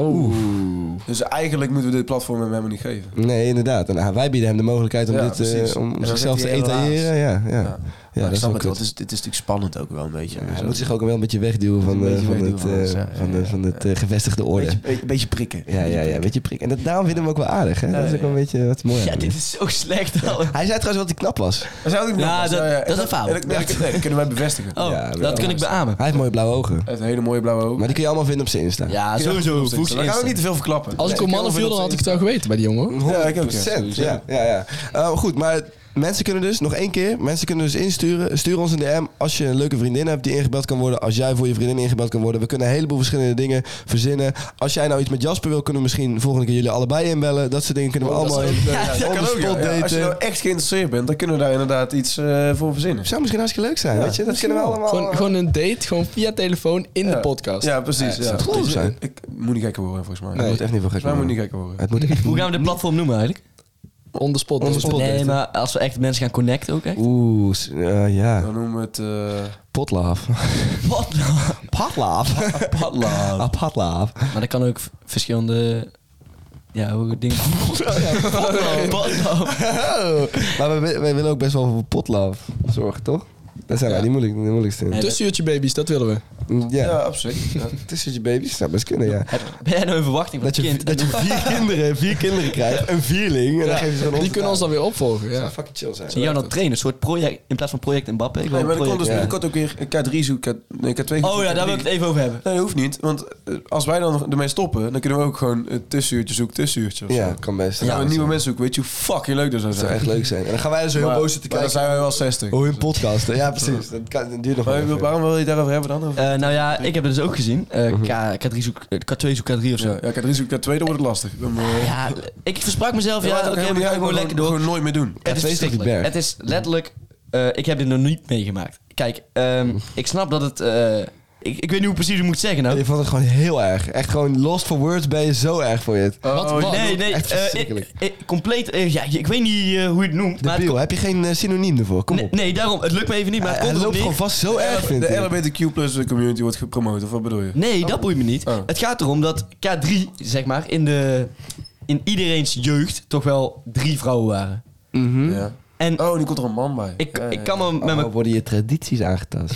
S4: Dus eigenlijk moeten we dit platform hem helemaal niet geven.
S3: Nee, inderdaad. En ah, wij bieden hem de mogelijkheid om,
S4: Ja,
S3: dit, eh,
S4: precies.
S3: om
S4: En dan
S3: zichzelf te
S4: zegt hij helaas.
S3: etaleren. Ja, ja. ja.
S4: Maar
S3: dat is
S4: ik
S3: wel
S4: snap het wel.
S3: kut.
S4: Het is, het is natuurlijk spannend ook wel een beetje.
S3: Hij
S4: Zo.
S3: moet zich ook wel een beetje wegduwen van,
S4: Een
S3: eh,
S4: beetje
S3: van,
S4: wegduwen
S3: het,
S4: van alles,
S3: eh,
S4: ja,
S3: van,
S4: ja,
S3: de, van het eh, gevestigde orde.
S4: beetje, beetje, beetje prikken.
S3: ja, ja, ja, een beetje prik. En dat, daarom vinden we hem ook wel aardig. Hè? dat is ook wel een beetje wat mooi.
S6: Ja,
S3: aan
S6: dit
S3: hem.
S6: is zo slecht. al.
S3: Hij zei trouwens wel dat hij knap was.
S4: Dat zou ik niet
S6: Ja,
S4: doen.
S6: dat-
S4: Ja, ja.
S6: dat is een fout.
S4: En dat- nee, dat- nee, dat kunnen wij bevestigen.
S6: Oh,
S3: Ja, wel.
S6: dat kan ik beamen.
S3: Hij heeft mooie blauwe ogen.
S4: Hij heeft een hele mooie blauwe ogen.
S3: Maar die kun je allemaal vinden op zijn Insta.
S6: Ja, sowieso.
S4: We
S6: Voegs
S4: gaan ook niet te veel verklappen.
S5: Als ik op mannen viel, dan had ik het wel geweten bij die jongen. hoor.
S4: Ja, ik ook. ja.
S3: 100%. Ja, ja, ja. Eh, goed, maar mensen kunnen dus, nog één keer, mensen kunnen dus insturen. Stuur ons een DM als je een leuke vriendin hebt die ingebeld kan worden. Als jij voor je vriendin ingebeld kan worden. We kunnen een heleboel verschillende dingen verzinnen. Als jij nou iets met Jasper wil, kunnen we misschien volgende keer jullie allebei inbellen. Dat soort dingen kunnen we
S5: Oh, dat
S3: allemaal
S5: is
S3: in.
S4: Ja, dat kan ook, ja. Ja, Als je nou echt geïnteresseerd bent, dan kunnen we daar inderdaad iets eh, voor verzinnen.
S3: zou misschien hartstikke leuk zijn, weet je? Dat kunnen we allemaal...
S5: Gewoon, gewoon een date, gewoon via telefoon in de
S4: Ja.
S5: podcast.
S4: Ja, precies. Ja,
S3: het geloof
S4: Dus,
S3: zijn?
S4: eh, Ik moet niet gekker worden, volgens mij.
S3: Het
S4: Nee.
S3: moet echt niet veel gek
S4: Volgens mij
S3: worden.
S4: moet niet gekker worden.
S3: Het moet echt
S6: Hoe gaan we dit platform noemen eigenlijk?
S5: On the spot.
S3: Onze spot.
S6: Nee, maar als we echt mensen gaan connecten ook echt.
S3: [LAUGHS] Oeh, s- eh, ja.
S4: Dan noemen we het... eh,
S3: Potlaaf.
S6: Wat nou?
S3: [LAUGHS] Potlaaf.
S6: Padla.
S3: Ah, Potlaaf.
S6: Maar dat kan ook v- verschillende... Ja, hoe dingen... nou? Padla.
S3: Maar we, we- we willen ook best wel voor potlaaf zorgen, toch? Dat zijn wij die, moeilijk, de moeilijkste in.
S6: Nee.
S5: Tussenuurtje baby's, dat willen we.
S3: Ja,
S4: Ja, absoluut.
S3: [LAUGHS]
S4: Ja.
S3: tussen je baby's zou best kunnen, ja.
S6: Ben jij nou in verwachting van
S3: Dat
S6: het
S3: je,
S6: kind?
S3: dat je
S6: [LAUGHS]
S3: vier, kinderen, vier kinderen krijgt, een vierling, en dan geven ze van ons
S5: Die kunnen ons dan weer opvolgen.
S3: Ja,
S5: Ja.
S3: fucking chill zijn.
S6: Zie nou jou dan trainen, een soort project in plaats van project Mbappé. Ik wil
S4: Nee, maar dus-
S6: een
S4: dan komt
S6: project.
S4: dus
S3: ja.
S4: binnenkort ook weer K3 zoeken. K- Nee, K2
S6: Oh ja, daar wil ik het even over hebben.
S4: Nee, dat hoeft niet. Want eh, als wij dan nog ermee stoppen, dan kunnen we ook gewoon een tussenuurtje zoeken, tussenuurtje of zo.
S3: Ja, kan best.
S4: Dan gaan we
S3: dat
S4: nieuwe
S3: zou-
S4: mensen zoeken. Weet je hoe fucking leuk dat zou
S3: dat zou
S4: zijn?
S3: echt leuk zijn. En dan gaan wij er zo heel
S4: Maar-
S3: boos zitten
S4: maar dan
S3: kijken.
S4: zijn wij wel 60.
S3: Oh, hun podcast. hè? Ja, ja, precies. Dat, kan, dat duurt nog wel
S4: Maar
S3: even.
S4: waarom wil je het daarover hebben dan? Over-
S6: Eh, nou ja, ik heb het dus ook gezien. Eh, K, K3 zoek, eh, K2 zoek K3 of zo.
S4: Ja, ja, K3 zoek K2, dan wordt het lastig. Dan, eh,
S6: Ja, ik versprak mezelf.
S4: maakt
S6: Ja,
S4: ook
S6: oké,
S4: helemaal
S6: we
S4: niet
S6: gaan
S4: uit,
S6: gewoon
S4: maar
S6: lekker door.
S4: Gewoon nooit meer doen.
S6: Het is,
S3: twee is toch die
S6: verschrikkelijk.
S3: berg?
S6: het is letterlijk... eh, ik heb dit nog niet meegemaakt. Kijk, ehm, ik snap dat het... eh, ik, ik weet niet hoe precies ik moet het zeggen nou.
S3: Je vond het gewoon heel erg. Echt gewoon lost for words ben je zo erg voor je het.
S6: Wat?
S4: Oh,
S6: nee, nee.
S3: echt
S6: eh,
S3: verschrikkelijk.
S6: ik- ik- compleet... eh, ja, ik weet niet eh, hoe je het noemt. maar het
S3: Debiel, heb je geen eh, synoniem ervoor? Kom
S6: Nee,
S3: op.
S6: nee, daarom. Het lukt me even niet,
S3: Hij,
S6: maar het
S3: hij
S6: komt erop
S3: loopt gewoon
S6: neer.
S3: vast zo erg, vindt
S4: De
S3: hij.
S4: LGBTQ plus community wordt gepromoot, of wat bedoel je?
S6: Nee, dat boeit me niet.
S4: Oh.
S6: Het gaat erom dat K3, zeg maar, in, de, in iedereens jeugd toch wel drie vrouwen waren.
S4: Ja.
S6: En
S4: Oh, nu komt er een man bij.
S6: ik,
S4: Ja, ja,
S6: ik
S4: ja.
S6: kan me met
S3: Oh,
S6: mijn...
S3: worden je tradities aangetast.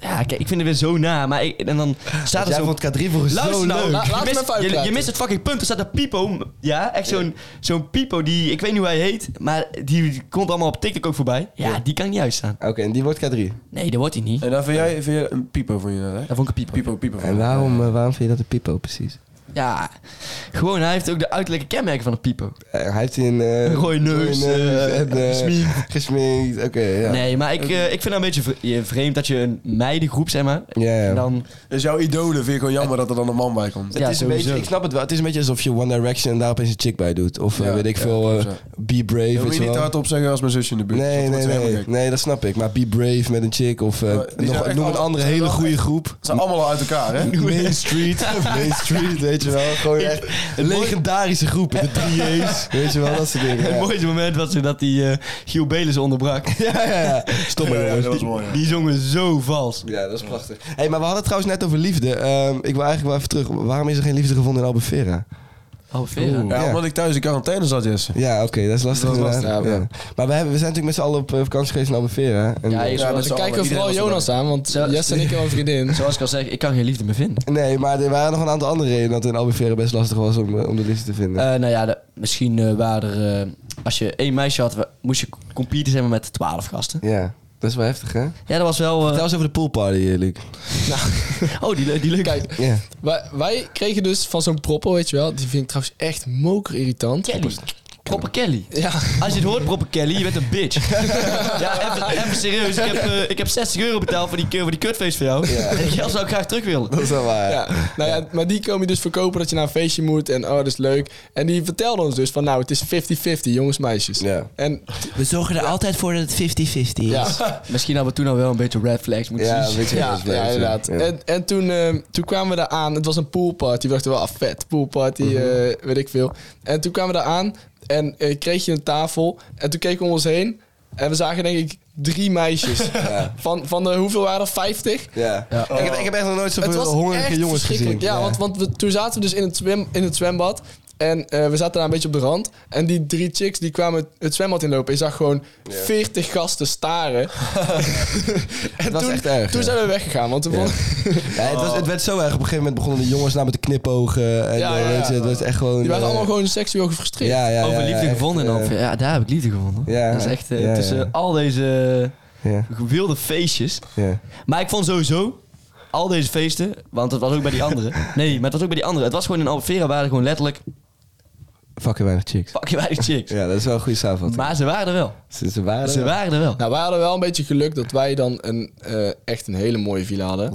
S6: Ja, kijk, ik vind het weer zo na, maar ik- en dan staat er
S3: Jij
S6: zo...
S3: vond K3 volgens zo
S6: Luister nou,
S3: leuk.
S5: La- laat
S6: je,
S5: hem
S6: mist,
S5: even
S6: je- je,
S5: uitpraten.
S6: mist het fucking punt. Er staat een Pipo, ja, echt zo'n zo'n Pipo die, ik weet niet hoe hij heet, maar die komt allemaal op TikTok ook voorbij. Ja, die kan ik niet uitstaan.
S3: Oké, en die wordt K3.
S6: Nee, dat wordt hij niet.
S4: En daar vind jij, vind jij een piepo van je, hè?
S6: Dat vond ik een Pipo.
S4: Piepo, piepo.
S3: En waarom, eh, waarom vind je dat een pipo precies?
S6: Ja, gewoon, hij heeft ook de uiterlijke kenmerken van een Pipo.
S3: Eh, hij heeft een eh
S6: Rode neus,
S3: rode
S6: eh,
S3: en, eh,
S6: gesminkt.
S3: gesminkt. Oké, ja.
S6: Nee, maar ik, eh, ik vind het een beetje vre- je- vreemd dat je een meidengroep, zeg maar.
S3: Ja, ja.
S6: En dan,
S4: Dus jouw idolen vind ik gewoon jammer dat er dan een man bij komt.
S6: ja,
S3: het is een
S6: sowieso.
S3: beetje, ik snap het wel. Het is een beetje alsof je One Direction en daar opeens een chick bij doet. Of eh,
S4: Ja,
S3: weet ik
S4: ja,
S3: veel, eh,
S4: klopt,
S3: Be Brave.
S4: Dat
S3: weet
S4: moet je
S3: je
S4: niet te
S3: wel.
S4: hard op zeggen als mijn zusje in de buurt.
S3: Nee,
S4: want dat
S3: nee,
S4: wordt helemaal
S3: nee.
S4: gek.
S3: nee, dat snap ik. Maar Be Brave met een chick of eh,
S4: Maar die zijn
S3: nog,
S4: echt
S3: noem een
S4: allemaal-
S3: andere
S4: zijn
S3: hele
S4: wel
S3: goede
S4: echt-
S3: groep.
S4: Ze zijn allemaal al uit elkaar, hè?
S3: [LAUGHS] Main
S4: [LAUGHS]
S3: Street, Main Street, weet je wel. Gewoon echt een legendarische groep. De 3A's, weet je wel, dat soort
S4: [LAUGHS]
S3: dingen.
S6: [LAUGHS] Het
S3: Ja,
S6: mooiste moment was toen dat die eh Giel Belen ze onderbrak.
S3: ja, ja.
S6: [LAUGHS]
S3: ja. Stomme
S4: Ja, ja,
S3: jongens.
S4: dat was mooi. ja.
S6: Die zongen zo vals.
S3: Ja, dat is prachtig. hey, maar we hadden het trouwens net over liefde. Ehm, ik wil eigenlijk wel even terug. Waarom is er geen liefde gevonden in Albufeira?
S6: Oh, Vera.
S4: Ja,
S3: Ja.
S4: omdat ik thuis in quarantaine zat, Jesse.
S3: Ja, oké, dat is lastig.
S4: Dat is lastig,
S3: inderdaad.
S4: ja,
S3: Ja. Maar we, hebben, we zijn natuurlijk met z'n allen op eh, vakantie geweest in Albufeira. En,
S6: Ja,
S3: eh,
S6: ik-
S4: Ja, met z'n
S5: Dan
S4: allen.
S5: kijken we vooral
S4: Iedereen was
S5: Jonas aan, want
S6: Zo-
S5: Jess en ik hebben een vriendin.
S6: [LAUGHS] Zoals ik al zeg, ik kan geen liefde meer vinden.
S3: Nee, maar er waren nog een aantal andere redenen dat het in Albufeira best lastig was om, eh, om de liefde te vinden.
S6: Eh, nou ja, de- misschien eh, waren er... eh, als je één meisje had, wa- moest je competen zijn met twaalf gasten.
S3: ja, dat is wel heftig, hè?
S6: Ja, dat was wel... eh,
S3: Trouwens over de poolparty, eh, Luc.
S6: oh, die, le- die leuke...
S5: Kijk,
S3: Ja.
S5: wij, wij kregen dus van zo'n propper, weet je wel, die vind ik trouwens echt moker irritant.
S6: Kelly. Proper Kelly.
S5: Ja,
S6: Als je het hoort, proper Kelly, je bent een [LAUGHS] bitch. ja, even, even serieus. Ik heb, eh, ik heb 60 euro betaald voor die, voor die kutfeest voor jou. [LAUGHS] En die geld zou ik graag terug willen.
S3: Dat is wel waar.
S5: ja. Nou ja, maar die komen je dus verkopen dat je naar een feestje moet en oh, dat is leuk. En die vertelden ons dus van nou, het is 50-50, jongens, meisjes.
S3: Ja.
S5: En
S9: We zorgen er altijd voor dat het 50-50 is.
S5: ja,
S6: Misschien hadden we toen al wel een beetje red flags moeten
S3: Ja,
S6: zien.
S3: weet je wel, dat
S5: Ja,
S3: is leuk,
S5: ja, inderdaad.
S3: ja.
S5: En, en toen, ehm, toen kwamen we daar aan. Het was een poolparty. We dachten wel, ah, vet, poolparty,
S3: Mhm.
S5: eh, weet ik veel. En toen kwamen we daar aan en eh, kreeg je een tafel. En toen keken we om ons heen en we zagen denk ik drie meisjes.
S3: [LAUGHS]
S5: Van, van de, hoeveel waren er? Vijftig?
S3: Ja. Ik, heb, ik heb echt nog nooit
S5: Het
S3: zoveel
S5: was
S3: hongerige
S5: echt
S3: jongens gezien.
S5: verschrikkelijk. Ja, want, want we, toen zaten we dus in het, zwem, in het zwembad. En eh, we zaten daar een beetje op de rand. En die drie chicks die kwamen het, het zwembad inlopen. Je zag gewoon 40 gasten staren. [LAUGHS] en
S3: was
S5: toen,
S3: echt erg,
S5: Toen
S3: ja.
S5: zijn we weggegaan. Want we vonden-
S3: Ja, het, was, het werd zo erg. Op een gegeven moment begonnen de jongens namelijk te knipogen. En,
S5: Ja,
S3: eh,
S5: ja, ja.
S3: Weet je, het was echt gewoon...
S5: Die waren
S3: eh,
S5: allemaal gewoon seksueel gefrustreerd.
S3: ja, ja, ja,
S6: Over
S3: ja,
S6: liefde
S3: echt,
S6: gevonden en
S3: eh,
S6: dan. Ja, daar heb ik liefde gevonden.
S3: Ja.
S6: dat is echt eh,
S3: Ja, ja,
S6: tussen
S3: ja.
S6: al deze
S3: Ja,
S6: wilde feestjes.
S3: ja.
S6: Maar ik vond sowieso al deze feesten, want het was ook bij die andere.
S3: [LAUGHS]
S6: Nee, maar het was ook bij die andere. Het was gewoon in Albufeira waren gewoon letterlijk
S3: Fucking weinig chicks.
S6: pak je weinig chicks.
S3: Ja, dat is wel een goede samenvatting.
S6: Maar ze waren er wel.
S3: ze, ze waren
S6: Ze waren er wel.
S5: Nou, wij hadden wel een beetje geluk dat wij dan een, eh, echt een hele mooie villa hadden.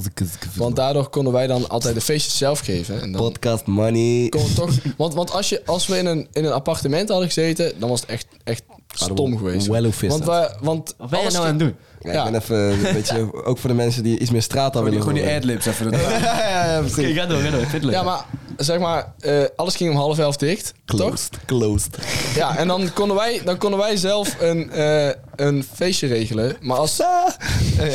S5: Want daardoor konden wij dan altijd de feestjes zelf geven. En dan
S3: Podcast money.
S5: kon het toch, [LAUGHS] want want als, je, als we in een, in een appartement hadden gezeten, dan was het echt, echt stom geweest.
S3: Wello vis
S5: Want,
S3: dat.
S5: wij, want
S6: Wat ben je
S5: alles
S6: nou aan het doen?
S3: Ja,
S5: Ja.
S3: Ik
S5: [LAUGHS]
S3: ben even [LAUGHS] een beetje... Ook voor de mensen die iets meer straat aan
S4: Gewoon die-
S3: willen
S4: Gewoon die
S3: horen.
S4: adlibs even. dat-
S5: [LAUGHS]
S3: Ja, ja, ja,
S6: Oké,
S3: precies.
S6: ga door, ga door. Ik vind het leuk.
S5: Ja, maar zeg maar, eh, alles ging om half elf dicht, toch?
S3: Closed. Closed.
S5: Ja, en dan konden wij, dan konden wij zelf een, eh, een feestje regelen. Maar
S3: [LAUGHS]
S5: als...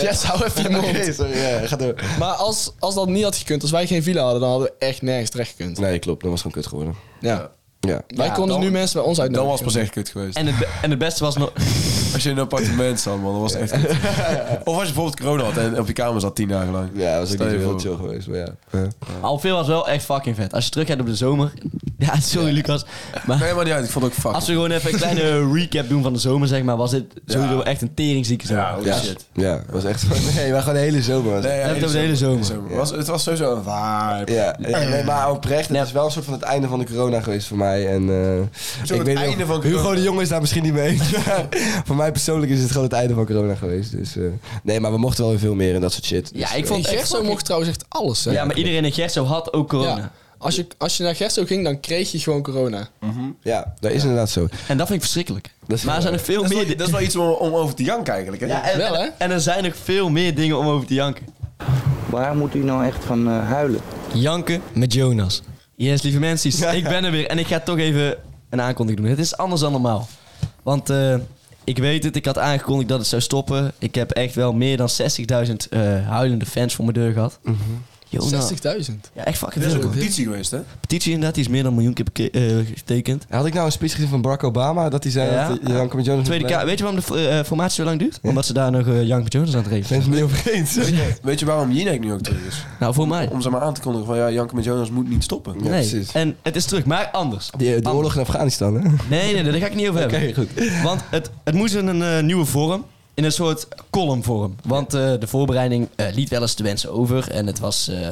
S5: Yes, hou even je mond.
S3: Ah. Oké, sorry. Ja, ga door.
S5: Maar als, als dat niet had gekund, als wij geen villa hadden, dan hadden we echt nergens terecht gekund.
S3: Nee, klopt. Dat was gewoon kut geworden.
S5: Ja.
S3: Ja.
S5: Wij
S6: Ja,
S5: konden
S6: dan-
S5: nu mensen bij ons
S4: Dan
S5: uitnodigen.
S4: was pas echt kut geweest.
S6: En, het be- en het beste was nog...
S4: Als je in een appartement zat, man, dat was echt
S3: [LAUGHS]
S4: kut. Of als je bijvoorbeeld corona had en op je kamer zat tien dagen lang.
S3: Ja, dat was ook
S4: Stel
S3: niet
S4: je
S3: heel
S4: voor.
S3: chill geweest, maar ja. Ja.
S6: Albufeira was wel echt fucking vet. Als je terugkijkt op de zomer, Ja, sorry Lucas. Maar
S4: Nee, maar niet uit. Ik vond het ook fuck.
S6: als we gewoon even een kleine recap doen van de zomer, zeg maar, was dit sowieso echt een teringzieke zomer.
S4: Ja, holy
S3: Ja,
S4: shit.
S3: ja, het was echt... Nee, maar gewoon de hele zomer. was het.
S4: Nee, ja,
S6: hebben het over de hele zomer.
S4: Was, het was sowieso een vibe.
S3: Ja, nee, maar oprecht, het is wel een soort van het einde van de corona geweest voor mij. En, eh,
S4: het
S3: niet
S4: einde
S3: of-
S4: van
S3: Hugo
S4: corona.
S3: de Jong is daar misschien niet mee [LAUGHS] eens. maar voor mij persoonlijk is het gewoon het einde van corona geweest. Dus, eh, nee, maar we mochten wel weer veel meer en dat soort shit.
S6: Ja,
S3: Dus,
S6: ik
S3: eh,
S6: vond het echt
S5: Gerso mocht trouwens echt alles, hè?
S6: Ja, maar iedereen in Gerso had ook corona.
S5: Ja. Als je, als je naar Gerso ging, dan kreeg je gewoon corona.
S3: eh, Ja, dat is inderdaad zo.
S6: En dat vind ik verschrikkelijk.
S3: Dat is-
S6: maar er zijn nog veel
S4: Dat is,
S6: meer...
S4: wel, dat is wel iets om, om over te janken eigenlijk. Hè?
S6: Ja, en,
S5: Wel, hè?
S6: en, en er zijn nog veel meer dingen om over te janken.
S10: Waar moet u nou echt van eh, huilen?
S6: Janken met Jonas. Yes, lieve mensen, ik ben er weer en ik ga toch even een aankondiging doen. Het is anders dan normaal. Want eh, ik weet het, ik had aangekondigd dat het zou stoppen. Ik heb echt wel meer dan 60.000 eh, huilende fans voor mijn deur gehad. Jonas.
S5: 60.000.
S6: Ja, echt fucking
S4: Er Mhm. is
S6: veel.
S4: ook een
S6: hoor.
S4: petitie geweest, hè?
S6: Petitie inderdaad, die is meer dan een miljoen keer beke- eh, getekend.
S3: Had ik nou een speech gezien van Barack Obama dat hij zei
S6: Ja.
S3: dat eh, Janko met Jonas...
S6: Tweede Kamer. Weet je waarom de eh, formatie zo lang duurt? Omdat ze daar nog eh Young Jonas aan het
S3: Ben [LAUGHS]
S6: regelen zijn.
S3: het niet over eens.
S4: Weet je waarom Jinek nu ook terug is?
S6: Nou, voor mij.
S4: Om ze maar aan te kondigen van ja, Janke met Jonas moet niet stoppen.
S3: Ja,
S6: nee.
S3: precies.
S6: En het is terug, maar anders.
S3: Die, eh, de
S6: Anders.
S3: oorlog in Afghanistan, hè?
S6: Nee, nee, nee, daar ga ik
S3: [LAUGHS]
S6: niet over hebben. Want het, het moest in een eh, nieuwe vorm. In een soort columnvorm. Want eh, de voorbereiding eh, liet wel eens te wensen over. En het was eh,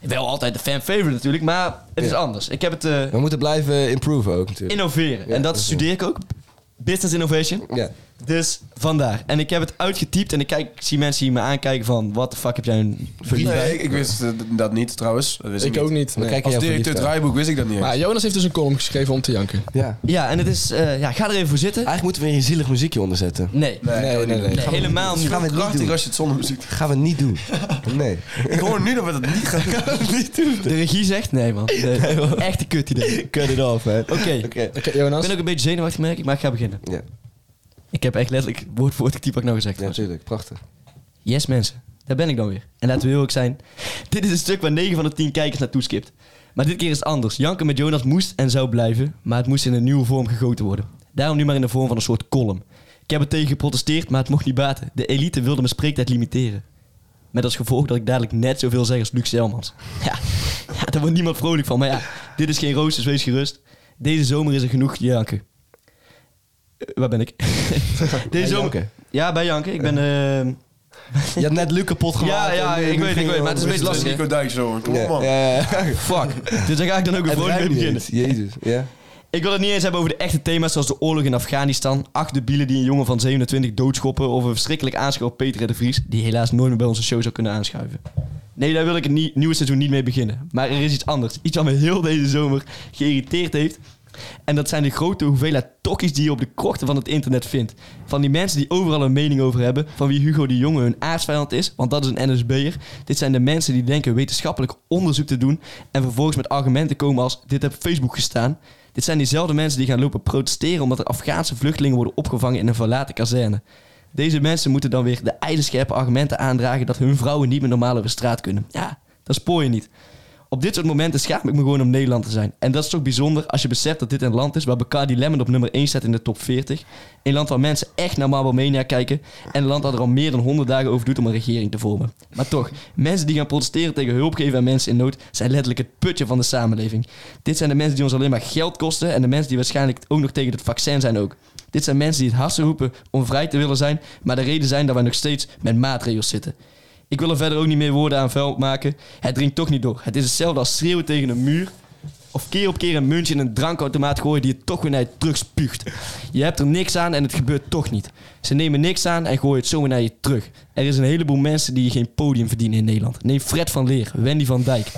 S6: wel altijd de fan favorite natuurlijk. Maar het is
S3: Ja.
S6: anders. Ik heb het eh,
S3: We moeten blijven improven ook natuurlijk.
S6: innoveren.
S3: Ja,
S6: en dat
S3: dat is
S6: studeer ik ook. Business innovation.
S3: Ja.
S6: Dus vandaar. En ik heb het uitgetypt. En ik, kijk, ik zie mensen hier me aankijken van... Wat de fuck heb jij een verliefd
S4: Nee,
S6: bij?
S4: ik, ik wist eh, dat niet trouwens. Dat wist
S5: Ik ook niet. nee.
S3: We kijken
S4: Als
S3: jou verliefd
S4: directeur
S3: aan.
S4: draaiboek wist ik dat niet.
S5: Maar Jonas heeft dus een column geschreven om te janken.
S3: Ja.
S6: Ja, en het is... eh, ja, ga er even voor zitten.
S3: Eigenlijk moeten we weer een zielig muziekje onderzetten.
S6: Nee. Nee,
S3: nee, nee. Gaan we-
S6: helemaal niet.
S3: gaan we niet
S4: Prachtig
S3: doen.
S4: als je het zonder muziek doet.
S3: Gaan we niet doen. Nee.
S4: Ik hoor nu dat we dat niet gaan doen.
S6: De regie zegt nee, man. Nee. Echte kut [LAUGHS] idee.
S3: Cut it off, hè.
S6: Oké.
S5: Oké,
S6: Ik
S5: Jonas.
S6: ben ook een beetje zenuwachtig, merk ik, maar ik ga beginnen.
S3: Ja,
S6: Ik heb echt letterlijk woord voor woord getypt wat ik nou gezegd
S3: ja,
S6: heb.
S3: natuurlijk. Prachtig.
S6: Yes, mensen. Daar ben ik dan weer. En laten we heel ook zijn. Dit is een stuk waar 9 van de 10 kijkers naartoe skipt. Maar dit keer is het anders. Janken met Jonas moest en zou blijven, maar het moest in een nieuwe vorm gegoten worden. Daarom nu maar in de vorm van een soort column. Ik heb er tegen geprotesteerd, maar het mocht niet baten. De elite wilde mijn spreektijd limiteren. Met als gevolg dat ik dadelijk net zoveel zeg als Luc Selmans. Ja, ja, daar wordt niemand vrolijk van. Maar ja, dit is geen roos, dus wees gerust. Deze zomer is er genoeg janken. Eh, waar ben ik? [LAUGHS] Deze
S3: janken?
S6: Ja, bij janken. Ik ben... eh,
S3: Je had net Luc kapot
S6: ja,
S3: gemaakt.
S6: ja,
S3: en, eh,
S6: ik
S3: nu
S6: weet, ik
S3: ging
S6: weet,
S3: je
S6: maar het is
S3: om-
S6: een beetje lastig. hè?
S4: Nico Dijk zo. Kom op,
S3: Ja,
S4: man.
S3: ja, ja.
S6: Fuck.
S3: [LAUGHS]
S6: Dus daar ga ik dan ook weer
S3: Het
S6: vrolijk mee
S3: rijmt niet
S6: beginnen.
S3: eens. Jezus, ja.
S6: Ik wil het niet eens hebben over de echte thema's zoals de oorlog in Afghanistan, acht debielen die een jongen van 27 doodschoppen of een verschrikkelijk aanschouw Peter R. de Vries, die helaas nooit meer bij onze show zou kunnen aanschuiven. Nee, daar wil ik het nie- nieuwe seizoen niet mee beginnen. Maar er is iets anders. Iets wat me heel deze zomer geïrriteerd heeft. En dat zijn de grote hoeveelheid tokkies die je op de krochten van het internet vindt. Van die mensen die overal een mening over hebben. Van wie Hugo de Jonge hun aardsvijand is, want dat is een NSB'er. Dit zijn de mensen die denken wetenschappelijk onderzoek te doen. En vervolgens met argumenten komen als: Dit heb op Facebook gestaan. Dit zijn diezelfde mensen die gaan lopen protesteren omdat er Afghaanse vluchtelingen worden opgevangen in een verlaten kazerne. Deze mensen moeten dan weer de ijzerscherpe argumenten aandragen dat hun vrouwen niet meer normaal over straat kunnen. Ja, dat spoor je niet. Op dit soort momenten schaam ik me gewoon om Nederland te zijn. En dat is toch bijzonder als je beseft dat dit een land is waar Bacardi Lemon op nummer 1 staat in de top 40. Een land waar mensen echt naar Marblemania kijken. En een land dat er al meer dan 100 dagen over doet om een regering te vormen. Maar toch, mensen die gaan protesteren tegen hulp geven aan mensen in nood zijn letterlijk het putje van de samenleving. Dit zijn de mensen die ons alleen maar geld kosten en de mensen die waarschijnlijk ook nog tegen het vaccin zijn ook. Dit zijn mensen die het hardste roepen om vrij te willen zijn, maar de reden zijn dat wij nog steeds met maatregels zitten. Ik wil er verder ook niet meer woorden aan vuil maken. Het dringt toch niet door. Het is hetzelfde als schreeuwen tegen een muur. Of keer op keer een muntje in een drankautomaat gooien die je toch weer naar je terug spuugt. Je hebt er niks aan en het gebeurt toch niet. Ze nemen niks aan en gooien het zomaar naar je terug. Er is een heleboel mensen die geen podium verdienen in Nederland. Neem Fred van Leer, Wendy van Dijk.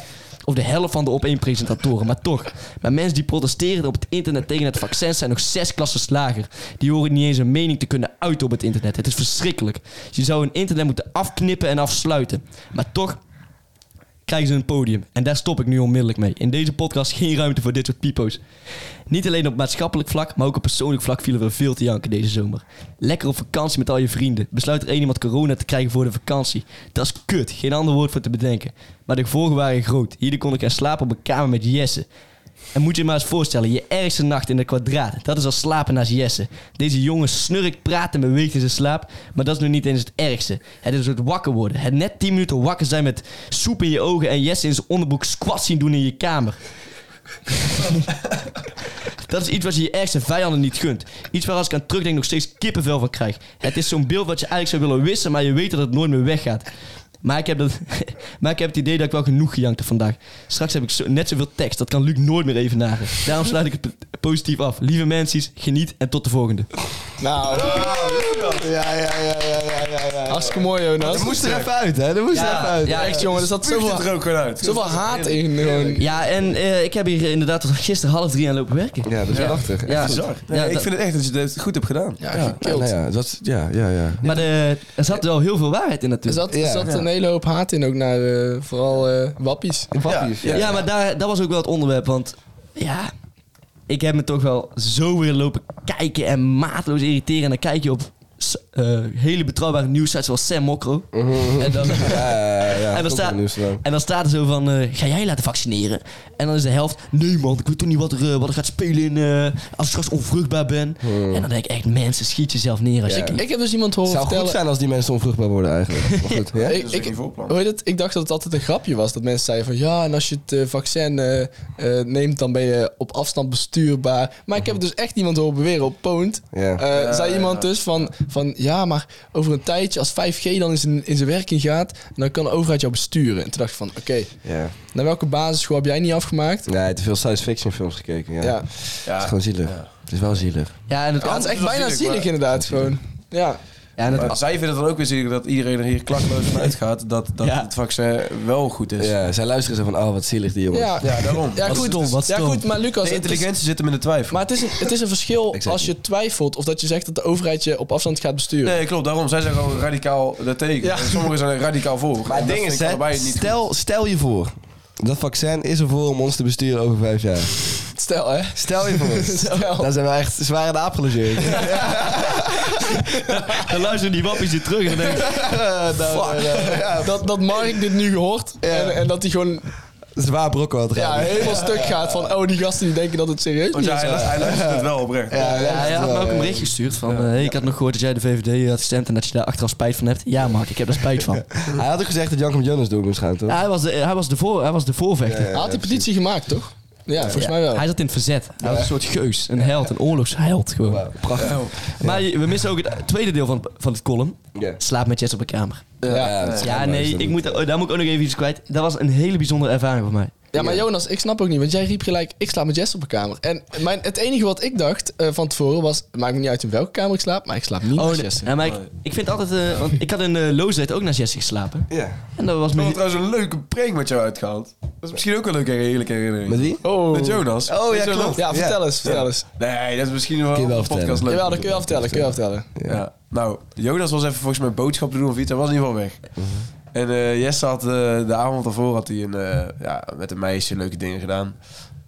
S6: Of de helft van de op één presentatoren. Maar toch, maar mensen die protesteren op het internet tegen het vaccin zijn nog zes klassen lager. Die horen niet eens een mening te kunnen uiten op het internet. Het is verschrikkelijk. Je zou een internet moeten afknippen en afsluiten. Maar toch, krijgen ze een podium. En daar stop ik nu onmiddellijk mee. In deze podcast geen ruimte voor dit soort pipo's. Niet alleen op maatschappelijk vlak, maar ook op persoonlijk vlak vielen we veel te janken deze zomer. Lekker op vakantie met al je vrienden. Besluit er één iemand corona te krijgen voor de vakantie. Dat is kut, geen ander woord voor te bedenken. Maar de gevolgen waren groot. Hier kon ik gaan slapen op een kamer met Jesse. En moet je je maar eens voorstellen, je ergste nacht in de kwadraat. Dat is al slapen naast Jesse. Deze jongen snurkt, praat en beweegt in zijn slaap. Maar dat is nog niet eens het ergste. Het is het wakker worden. Het net 10 minuten wakker zijn met soep in je ogen en Jesse in zijn onderbroek squat zien doen in je kamer. Dat is iets wat je je ergste vijanden niet gunt. Iets waar als ik aan terugdenk nog steeds kippenvel van krijg. Het is zo'n beeld wat je eigenlijk zou willen wissen, maar je weet dat het nooit meer weggaat. Maar ik, heb dat, [LAUGHS] maar ik heb het idee dat ik wel genoeg gejankt heb vandaag. Straks heb ik zo, net zoveel tekst. Dat kan Luc nooit meer even nagen. Daarom sluit ik het p- positief af. Lieve mensen, geniet en tot de volgende.
S5: Nou.
S3: Ja, ja, ja, ja, ja, ja.
S5: Hartstikke mooi, Jonas.
S3: Dat moest er even uit, hè? Dat moest er even uit.
S5: Ja, echt, jongen. Er zat
S4: Spuugt
S5: zoveel,
S4: het er ook gewoon uit.
S5: zoveel haat in. Gewoon.
S6: Ja, en eh, ik heb hier inderdaad tot gisteren half drie aan lopen werken.
S3: Ja, dat is
S4: Ja.
S3: prachtig.
S6: Ja.
S3: Echt goed.
S4: Bizar.
S6: Ja,
S4: Nee, ik
S6: dat-
S4: vind het echt dat je het goed hebt gedaan.
S5: Ja,
S3: Ja,
S5: gekild.
S3: nou ja, dat, ja, ja, ja.
S6: Maar de, er zat wel heel veel waarheid in
S5: Er
S6: natuurlijk.
S5: zat, er
S3: Ja.
S5: zat
S3: Ja.
S5: een hele hoop haat in, ook naar eh, vooral eh, wappies.
S3: Wappies,
S6: Ja, maar daar, dat was ook wel het onderwerp. Want ja, ik heb me toch wel zo weer lopen kijken en maatloos irriteren. En dan kijk je op s- eh, hele betrouwbare nieuwsites zoals Sam Mokro. En dan,
S3: Mhm. [LAUGHS] Ja, ja, ja.
S6: en, dan
S3: Ook
S6: staat,
S3: wel nieuws gedaan.
S6: en dan staat er zo van, eh, ga jij laten vaccineren? En dan is de helft, nee man, ik weet toch niet wat er, eh, wat er gaat spelen in, eh, als ik straks onvruchtbaar ben.
S3: Mhm.
S6: En dan denk ik echt, mensen, schiet jezelf neer. Als
S5: Ik,
S6: je,
S5: ik heb dus iemand horen
S3: Het zou goed
S5: vertellen...
S3: zijn als die mensen onvruchtbaar worden eigenlijk. [LAUGHS] Maar goed, ja?
S5: Ik,
S4: Dat is
S5: ik,
S4: een voorplan.
S5: hoe heet het? ik dacht dat het altijd een grapje was. Dat mensen zeiden van ja, en als je het eh, vaccin eh, eh, neemt, dan ben je op afstand bestuurbaar. Maar ik heb dus echt iemand horen beweren op Poont.
S3: Ja.
S5: Eh, zei iemand dus van, van ja, maar over een tijdje, als 5G dan in zijn, in zijn werking gaat, dan kan de overheid jou besturen. En toen dacht ik van oké,
S3: ja.
S5: naar welke basisschool heb jij niet afgemaakt?
S3: Nee, te veel science fiction films gekeken. Ja.
S5: Ja,
S3: Het is gewoon zielig. Het is wel zielig.
S6: ja, en het,
S5: Ja, het is echt bijna
S4: zielig,
S5: zielig
S4: maar-
S5: inderdaad gewoon. Ja.
S6: ja, en het-
S4: Maar zij vinden het dan ook weer zielig dat iedereen er hier klakloos van uitgaat dat, dat
S6: Ja.
S4: het vaccin wel goed is.
S3: Ja, Dus zij luisteren zo van, oh, wat zielig die jongens.
S5: Ja,
S4: Ja, daarom.
S5: Ja,
S6: Wat
S5: goed,
S6: stom, wat
S5: ja,
S6: stom.
S5: goed, maar Lucas,
S4: De
S5: het is-
S4: intelligentie zit hem in de twijfel.
S5: Maar het is, een- het is een
S3: [LAUGHS]
S5: verschil
S3: Exactly.
S5: als je twijfelt of dat je zegt dat de overheid je op afstand gaat besturen.
S4: Nee, klopt. Daarom. Zij zijn gewoon radicaal daartegen.
S5: Ja.
S4: En Sommigen zijn er radicaal voor.
S3: Maar het
S4: En dat
S3: ding
S4: vind
S3: is,
S4: ik
S3: hè,
S4: allebei niet goed.
S3: stel, stel je voor... Dat vaccin is ervoor om ons te besturen over vijf jaar.
S5: Stel hè.
S3: [LAUGHS] Stel je voor.
S5: Stel.
S3: Dan zijn we echt zwaar in de aap gelogeerd.
S6: dan luisteren die wappies je terug en dan denk ik,
S3: [LAUGHS] Nou,
S5: Dat, dat Mark dit nu gehoord en, en dat hij gewoon
S3: Zwaar brokken wat
S5: ja,
S3: raar.
S5: helemaal stuk gaat van oh die gasten die denken dat het serieus
S4: Want
S5: niet
S4: Oh, ja,
S5: is.
S4: hij, hij luistert het wel oprecht.
S6: Ja, hij had me ook een bericht gestuurd van... eh, hey, ik had nog gehoord dat jij de VVD had gestemd... en dat je daar achteraf spijt van hebt. Ja, Mark, ik heb daar spijt van.
S3: Hij had ook gezegd dat Jankum Jonas door moest gaan, toch?
S6: Ja, hij, was de, hij, was de voor, hij was de voorvechter.
S5: Hij had die petitie gemaakt toch? Ja, volgens mij wel.
S6: Hij zat in het verzet. Hij was een soort geus. Een held. Een oorlogsheld gewoon.
S3: Prachtig.
S6: Maar je- we missen ook het tweede deel van, van het column.
S3: Ja.
S6: Slaap met Jess op een kamer.
S3: Ja, dat is
S6: Ja,
S3: jammer,
S6: nee,
S3: is dat
S6: ik
S3: niet.
S6: moet, oh, daar moet ik ook nog even iets kwijt. Dat was een hele bijzondere ervaring voor mij.
S5: Ja, maar Jonas, ik snap ook niet, want jij riep gelijk, ik slaap met Jess op een kamer. En mijn, het enige wat ik dacht eh, van tevoren was, het maakt me niet uit in welke kamer ik slaap, maar ik slaap niet
S6: Oh,
S5: met
S6: nee.
S5: Jess.
S6: ja, maar ik, ik vind altijd... eh, want ik had in eh Loosdrecht ook naar Jesse geslapen.
S3: Ja.
S6: En dat was
S4: Ik heb
S6: me...
S4: trouwens een leuke prank met jou uitgehaald. Dat is misschien ook een leuke heerlijke herinnering.
S3: Met wie?
S5: Oh.
S4: Met Jonas.
S3: Oh, ja,
S4: Weet je wel
S3: klopt.
S4: nog?
S5: Ja, vertel eens, vertel eens.
S4: Nee, dat is misschien wel
S3: Kun je
S4: een
S3: wel
S4: podcast leuk.
S5: Jawel, dat kun je wel vertellen, kun je wel vertellen.
S4: Ja. Nou, Jonas was even volgens mij boodschap te doen of iets. Hij was in ieder geval weg.
S3: Mhm.
S4: En eh, Jesse had eh, de avond daarvoor had hij een, eh, ja, met een meisje leuke dingen gedaan.